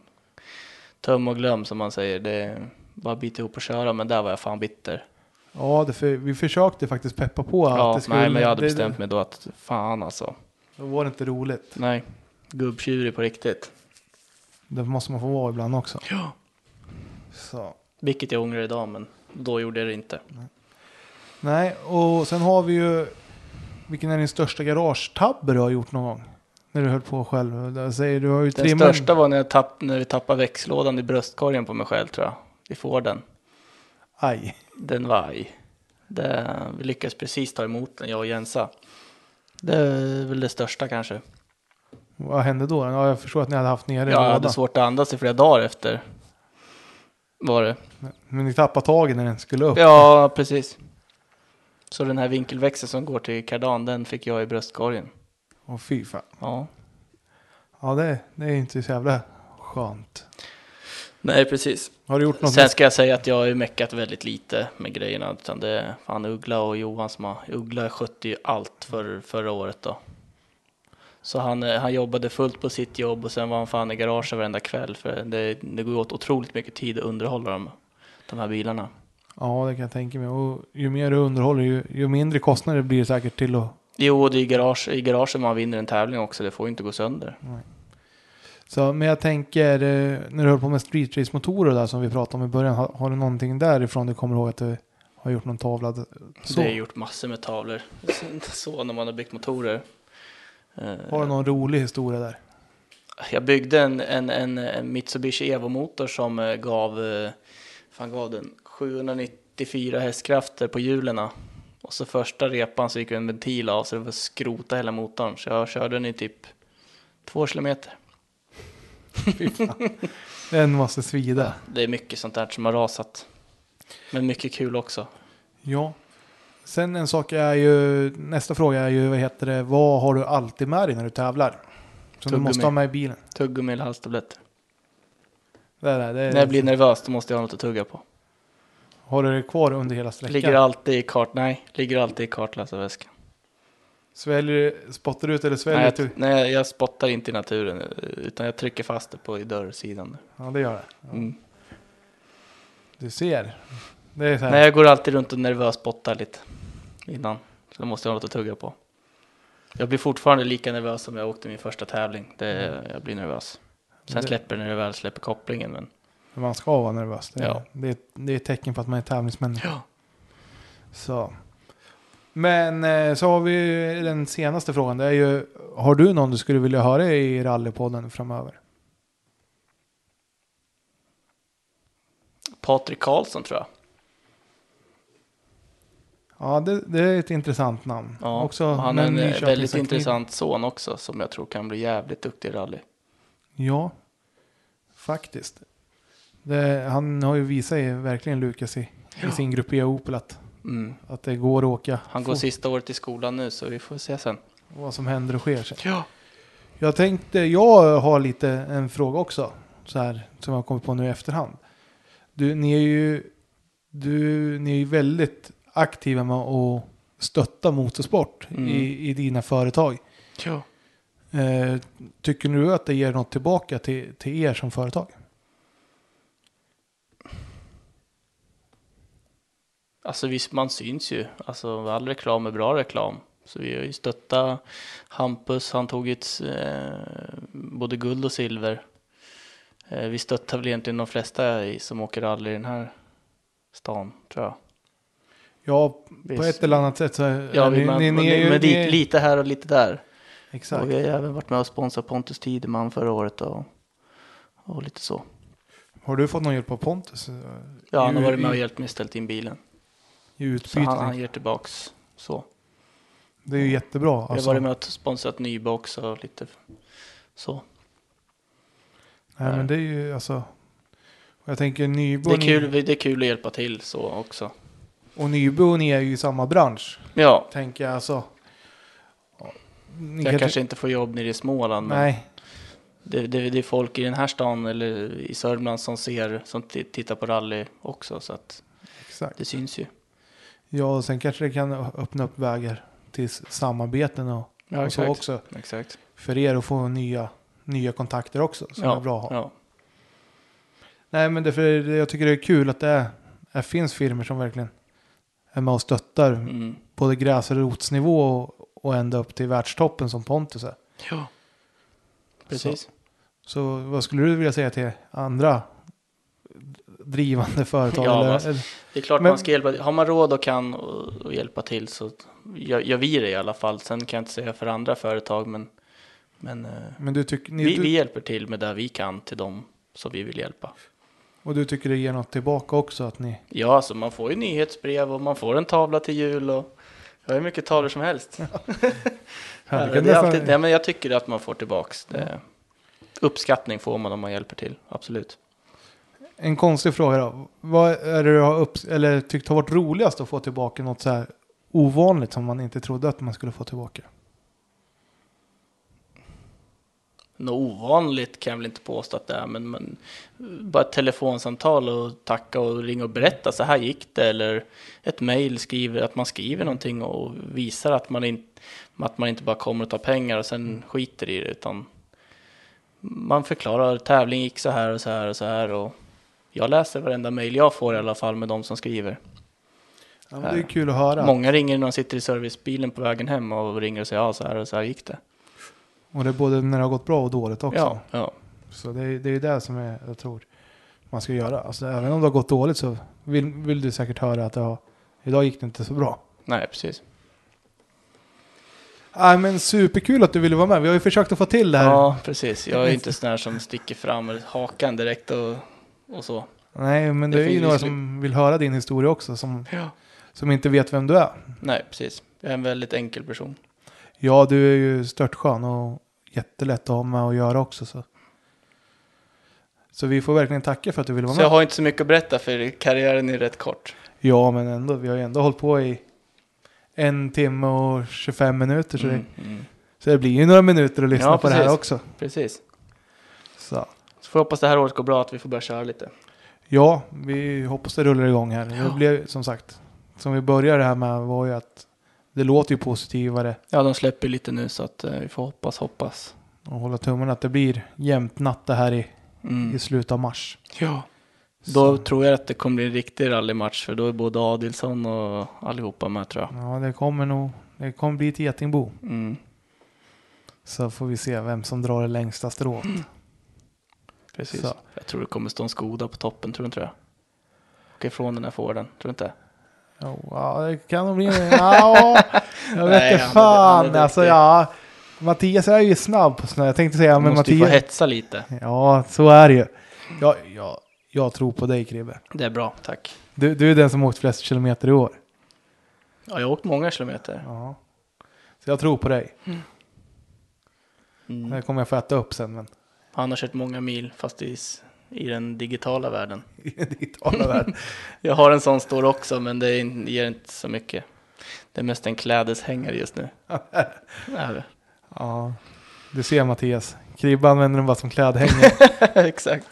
Speaker 3: töm och glöm som man säger. Det är bara bit ihop och köra, men där var jag fan bitter.
Speaker 1: Ja, det för, vi försökte faktiskt peppa på.
Speaker 3: Ja,
Speaker 1: att det skulle,
Speaker 3: nej, men jag hade
Speaker 1: det,
Speaker 3: bestämt mig då att fan alltså.
Speaker 1: Då var det inte roligt.
Speaker 3: Nej, gubbtjurig på riktigt.
Speaker 1: Det måste man få vara ibland också.
Speaker 3: Ja.
Speaker 1: Så.
Speaker 3: Vilket jag ångrar idag, men då gjorde jag det inte.
Speaker 1: Nej, och sen har vi ju... Vilken är din största garagetabbe du har gjort någon gång? När du höll på själv. Jag säger, du har ju
Speaker 3: Den
Speaker 1: trimmat-
Speaker 3: största var när, jag tapp, när vi tappade växellådan i bröstkorgen på mig själv tror jag. I Forden.
Speaker 1: Aj.
Speaker 3: Den var aj. Det, vi lyckades precis ta emot den, jag och Jensa. Det är väl det största kanske.
Speaker 1: Vad hände då? Ja, jag förstår att ni hade haft nere i
Speaker 3: Jag hade
Speaker 1: lådan.
Speaker 3: svårt att andas i flera dagar efter. Var det?
Speaker 1: Men ni tappade taget när den skulle upp.
Speaker 3: Ja, precis. Så den här vinkelväxeln som går till kardan, den fick jag i bröstkorgen.
Speaker 1: Och fy fan.
Speaker 3: Ja.
Speaker 1: Ja, det, det är inte så jävla skönt.
Speaker 3: Nej, precis.
Speaker 1: Har du gjort något?
Speaker 3: Sen
Speaker 1: med-
Speaker 3: ska jag säga att jag har ju meckat väldigt lite med grejerna. Utan det är fan Uggla och Johan som har... Uggla skötte ju allt för, förra året då. Så han, eh, han jobbade fullt på sitt jobb och sen var han fan i garaget varenda kväll. För det, det går åt otroligt mycket tid att underhålla dem, de här bilarna.
Speaker 1: Ja, det kan jag tänka mig. Och ju mer du underhåller, ju, ju mindre kostnader blir det säkert till att...
Speaker 3: Jo, och det är i garage, i garaget man vinner en tävling också. Det får ju inte gå sönder.
Speaker 1: Så, men jag tänker, eh, när du höll på med street race motorer där som vi pratade om i början, har, har du någonting därifrån du kommer ihåg att du har gjort någon tavla? d- Så.
Speaker 3: Det har jag gjort massor med tavlor. Så när man har byggt motorer. Eh,
Speaker 1: Har du någon rolig historia där?
Speaker 3: Jag byggde en, en, en, en Mitsubishi Evo-motor som eh, gav, eh, fan gav den 794 hästkrafter på hjulen. Och så första repan så gick en ventil av så det var skrota hela motorn. Så jag körde den i typ två kilometer.
Speaker 1: Den måste svida.
Speaker 3: Det är mycket sånt där som har rasat. Men mycket kul också.
Speaker 1: Ja. Sen en sak är ju, nästa fråga är ju, vad heter det, vad har du alltid med dig när du tävlar? Som du
Speaker 3: Tuggummi.
Speaker 1: måste ha med i bilen.
Speaker 3: Tuggummi eller halstabletter.
Speaker 1: Det är, det, det är,
Speaker 3: När jag blir nervös då måste jag ha något att tugga på.
Speaker 1: Har du det kvar under hela sträckan?
Speaker 3: Ligger alltid i kart... Nej, ligger alltid i kartläsarväskan.
Speaker 1: Sväljer, spottar du ut eller sväljer
Speaker 3: Nej,
Speaker 1: du?
Speaker 3: jag, nej, jag spottar inte i naturen eh, utan jag trycker fast det på i dörrsidan.
Speaker 1: Ja, det gör det.
Speaker 3: Mm.
Speaker 1: Du ser. Det är så här.
Speaker 3: Nej, jag går alltid runt och nervös spottar lite innan. Så då måste jag ha något att tugga på. Jag blir fortfarande lika nervös som jag åkte min första tävling. Det, jag blir nervös. Sen
Speaker 1: Mm. Det-
Speaker 3: släpper det när jag väl släpper kopplingen. Men
Speaker 1: Man ska vara nervös. Det,
Speaker 3: Ja.
Speaker 1: det, är- det är ett tecken på att man är tävlingsmänniska.
Speaker 3: Ja.
Speaker 1: Så. Men eh, så har vi ju den senaste frågan. Det är ju, har du någon du skulle vilja höra i rallypodden framöver?
Speaker 3: Patrik Karlsson tror jag.
Speaker 1: Ja, det, det är ett intressant namn.
Speaker 3: Ja,
Speaker 1: Också
Speaker 3: och han
Speaker 1: med
Speaker 3: är en eh, väldigt
Speaker 1: Nyköpingsanknytning.
Speaker 3: intressant son också som jag tror kan bli jävligt duktig i rally.
Speaker 1: Ja, faktiskt. Det, han har ju visat i- verkligen Lukas i, i sin grupp i Opel att
Speaker 3: Mm.
Speaker 1: Att det går att åka
Speaker 3: Han går
Speaker 1: fort,
Speaker 3: sista året i skolan nu så vi får se sen.
Speaker 1: vad som händer och sker. sen.
Speaker 3: Ja.
Speaker 1: Jag tänkte, jag har lite en fråga också. Så här, som jag kommer på nu i efterhand. Du, ni är ju, du, ni är ju väldigt aktiva med att stötta motorsport
Speaker 3: Mm.
Speaker 1: i, i dina företag.
Speaker 3: ja.
Speaker 1: Eh, tycker du att det ger något tillbaka till, till er som företag?
Speaker 3: Alltså visst, man syns ju. Alltså all reklam är bra reklam. Så vi har ju stöttat Hampus, han tog ju ett, eh, både guld och silver. Eh, vi stöttar väl egentligen de flesta i, som åker rally i den här stan, tror jag.
Speaker 1: Ja,
Speaker 3: Vi-
Speaker 1: på ett eller annat sätt så är
Speaker 3: Ja,
Speaker 1: ni,
Speaker 3: vi, man,
Speaker 1: ni, ni, är ju-
Speaker 3: men
Speaker 1: ni,
Speaker 3: dit, lite här och lite där.
Speaker 1: Exakt.
Speaker 3: Och vi har ju även varit med och sponsrat Pontus Tideman förra året och, och lite så.
Speaker 1: Har du fått någon hjälp av Pontus? eh,
Speaker 3: Ja, han har
Speaker 1: i-
Speaker 3: varit med och
Speaker 1: i-
Speaker 3: hjälpt mig ställt in bilen.
Speaker 1: I
Speaker 3: Så
Speaker 1: utbyte?
Speaker 3: han, han ger tillbaks. Så.
Speaker 1: det är ju jättebra.
Speaker 3: Jag har
Speaker 1: Alltså.
Speaker 3: varit med och sponsrat Nybo också och lite så.
Speaker 1: Nej, men det är ju alltså. Och jag tänker Nybo,
Speaker 3: Det är,
Speaker 1: och Ny-
Speaker 3: kul, det är kul att hjälpa till så också.
Speaker 1: och Nybo och ni är ju i samma bransch.
Speaker 3: Ja,
Speaker 1: Tänker jag alltså. Ja, Ni
Speaker 3: jag kanske inte får jobb nere i Småland. Men
Speaker 1: Nej,
Speaker 3: det, det, det är folk i den här stan eller i Sörmland som ser, som t- tittar på rally också. Så att
Speaker 1: exakt.
Speaker 3: det syns ju.
Speaker 1: Ja, och sen kanske det kan ö- öppna upp vägar till s- samarbeten och,
Speaker 3: Ja,
Speaker 1: och så också.
Speaker 3: Exakt.
Speaker 1: För er att få nya, nya kontakter också. Som
Speaker 3: ja,
Speaker 1: är bra att ha.
Speaker 3: Ja.
Speaker 1: Nej, men därför är det- jag tycker det är kul att det, är, det finns firmor som verkligen är med och stöttar
Speaker 3: Mm.
Speaker 1: både gräsrotsnivå och, och ända upp till världstoppen som Pontus är.
Speaker 3: ja. Precis.
Speaker 1: Så vad skulle du vilja säga till andra drivande företag?
Speaker 3: Ja,
Speaker 1: eller,
Speaker 3: vad-
Speaker 1: eller,
Speaker 3: Det är klart
Speaker 1: Men-
Speaker 3: man ska hjälpa Har man råd och kan och, och hjälpa till så gör, gör vi det i alla fall. Sen kan jag inte säga för andra företag men, men eh,
Speaker 1: men du tycker, ni,
Speaker 3: vi,
Speaker 1: du,
Speaker 3: vi hjälper till med det vi kan till dem som vi vill hjälpa.
Speaker 1: Och du tycker det ger något tillbaka också? Att ni,
Speaker 3: Ja, alltså man får ju nyhetsbrev och man får en tavla till jul och jag har hur mycket tavlor som helst.
Speaker 1: Ja, det
Speaker 3: det
Speaker 1: kan
Speaker 3: är
Speaker 1: nästan-
Speaker 3: alltid, nej, men jag tycker att man får tillbaks. Det, uppskattning får man om man hjälper till, absolut.
Speaker 1: En konstig fråga då. Vad är det du har upp, eller tyckt har varit roligast att få tillbaka något så här ovanligt som man inte trodde att man skulle få tillbaka?
Speaker 3: Något ovanligt kan jag väl inte påstå att det är, men, men bara ett telefonsamtal och tacka och ringa och berätta så här gick det eller ett mejl skriver att man skriver någonting och visar att man, in, att man inte bara kommer och tar pengar och
Speaker 1: Mm.
Speaker 3: sen skiter i det utan man förklarar tävling gick så här och så här och så här och jag läser varenda mejl jag får i alla fall med de som skriver.
Speaker 1: Ja, men det är kul att höra.
Speaker 3: Många ringer när de sitter i servicebilen på vägen hem och ringer och säger ja så här och så här gick det.
Speaker 1: Och det är både när det har gått bra och dåligt också.
Speaker 3: Ja, ja.
Speaker 1: Så det, är- det är ju det som är, jag tror man ska göra. Alltså, även om det har gått dåligt så vill, vill du säkert höra att det har, idag gick det inte så bra.
Speaker 3: Nej, precis.
Speaker 1: Nej men superkul att du ville vara med. Vi har ju försökt att få till det här.
Speaker 3: Ja, precis. Jag är inte sån här som sticker fram hakan direkt och, och så.
Speaker 1: Nej men det,
Speaker 3: Det
Speaker 1: är ju
Speaker 3: finns
Speaker 1: några
Speaker 3: ju-
Speaker 1: som vill höra din historia också som,
Speaker 3: Ja.
Speaker 1: som inte vet vem du är.
Speaker 3: Nej, precis. Jag är en väldigt enkel person.
Speaker 1: Ja du är ju störtskön och jättelätt att ha med att göra också. Så, så vi får verkligen tacka för att du ville vara
Speaker 3: Så jag
Speaker 1: med.
Speaker 3: har inte så mycket att berätta för karriären är rätt kort.
Speaker 1: Ja men ändå, vi har ju ändå hållit på i en timme och 25 minuter. Så,
Speaker 3: Mm,
Speaker 1: det,
Speaker 3: mm.
Speaker 1: så det blir ju några minuter att lyssna
Speaker 3: Ja,
Speaker 1: på det här
Speaker 3: precis.
Speaker 1: också.
Speaker 3: Precis.
Speaker 1: Så.
Speaker 3: Så får jag hoppas det här året går bra, att vi får börja köra lite.
Speaker 1: Ja, vi hoppas det rullar igång här. Det
Speaker 3: Ja.
Speaker 1: blev som sagt, som vi började det här med var ju att det låter ju positivare
Speaker 3: Ja, de släpper ju lite nu så att eh, vi får hoppas, hoppas.
Speaker 1: och hålla tummarna att det blir jämnt natte här i,
Speaker 3: Mm.
Speaker 1: i slutet av mars.
Speaker 3: Ja.
Speaker 1: Så-
Speaker 3: Då tror jag att det kommer bli en riktig rallymatch för då är både Adilson och allihopa med tror jag.
Speaker 1: Ja, det kommer nog, det kommer bli ett getingbo.
Speaker 3: Mm.
Speaker 1: Så får vi se vem som drar det längsta strået.
Speaker 3: Mm. Precis.
Speaker 1: Så.
Speaker 3: Jag tror det kommer stå en Skoda på toppen, tror du inte det? Och ifrån den här Forden, tror du inte?
Speaker 1: Jo, Ja, det kan nog bli... Ja, jag vet
Speaker 3: Nej,
Speaker 1: inte
Speaker 3: han är- han är
Speaker 1: fan.
Speaker 3: duktig.
Speaker 1: Alltså, ja. Mattias är ju snabb på snö. Jag tänkte säga,
Speaker 3: Ja,
Speaker 1: men
Speaker 3: måste ju få
Speaker 1: Mattias...
Speaker 3: hetsa lite.
Speaker 1: Ja, så är det ju. Jag, jag, jag tror på dig, Kribbe.
Speaker 3: Det är bra, tack.
Speaker 1: Du, du är den som har åkt flest kilometer i år.
Speaker 3: Ja, jag har åkt många kilometer.
Speaker 1: Ja. Så jag tror på dig. Det
Speaker 3: Mm.
Speaker 1: kommer jag få äta upp sen. Men...
Speaker 3: Han har kört många mil, fast i s- i den digitala världen.
Speaker 1: i den digitala världen.
Speaker 3: Jag har en sån stor också, men det är in- ger inte så mycket. Det är mest en klädeshängare just nu. Ja,
Speaker 1: Ja, du ser Mattias. Kribban använder den bara som klädhängare.
Speaker 3: Exakt.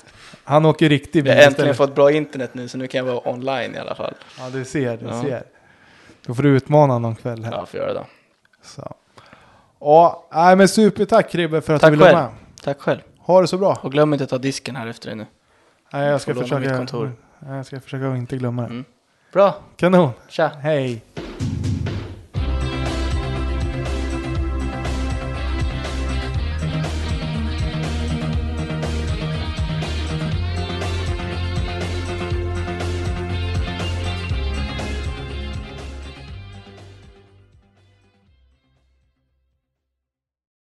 Speaker 1: Han åker riktig bil
Speaker 3: Jag har äntligen
Speaker 1: istället.
Speaker 3: fått bra internet nu, så nu kan jag vara online i alla fall.
Speaker 1: Ja, du ser, du
Speaker 3: Ja.
Speaker 1: ser. Då får du utmana honom kväll här.
Speaker 3: Ja, får göra det. då.
Speaker 1: Så. Ja, nej, men supertack Kribbe för att
Speaker 3: Tack
Speaker 1: du ville
Speaker 3: själv.
Speaker 1: vara med.
Speaker 3: Tack själv.
Speaker 1: Ha det så bra.
Speaker 3: Och glöm inte att ta disken här efter dig nu.
Speaker 1: Nej, jag
Speaker 3: får
Speaker 1: ska
Speaker 3: låna
Speaker 1: försöka.
Speaker 3: mitt kontor.
Speaker 1: Nej, Jag ska försöka att inte glömma det.
Speaker 3: Mm. Bra,
Speaker 1: Kanon.
Speaker 3: tja!
Speaker 1: Hej.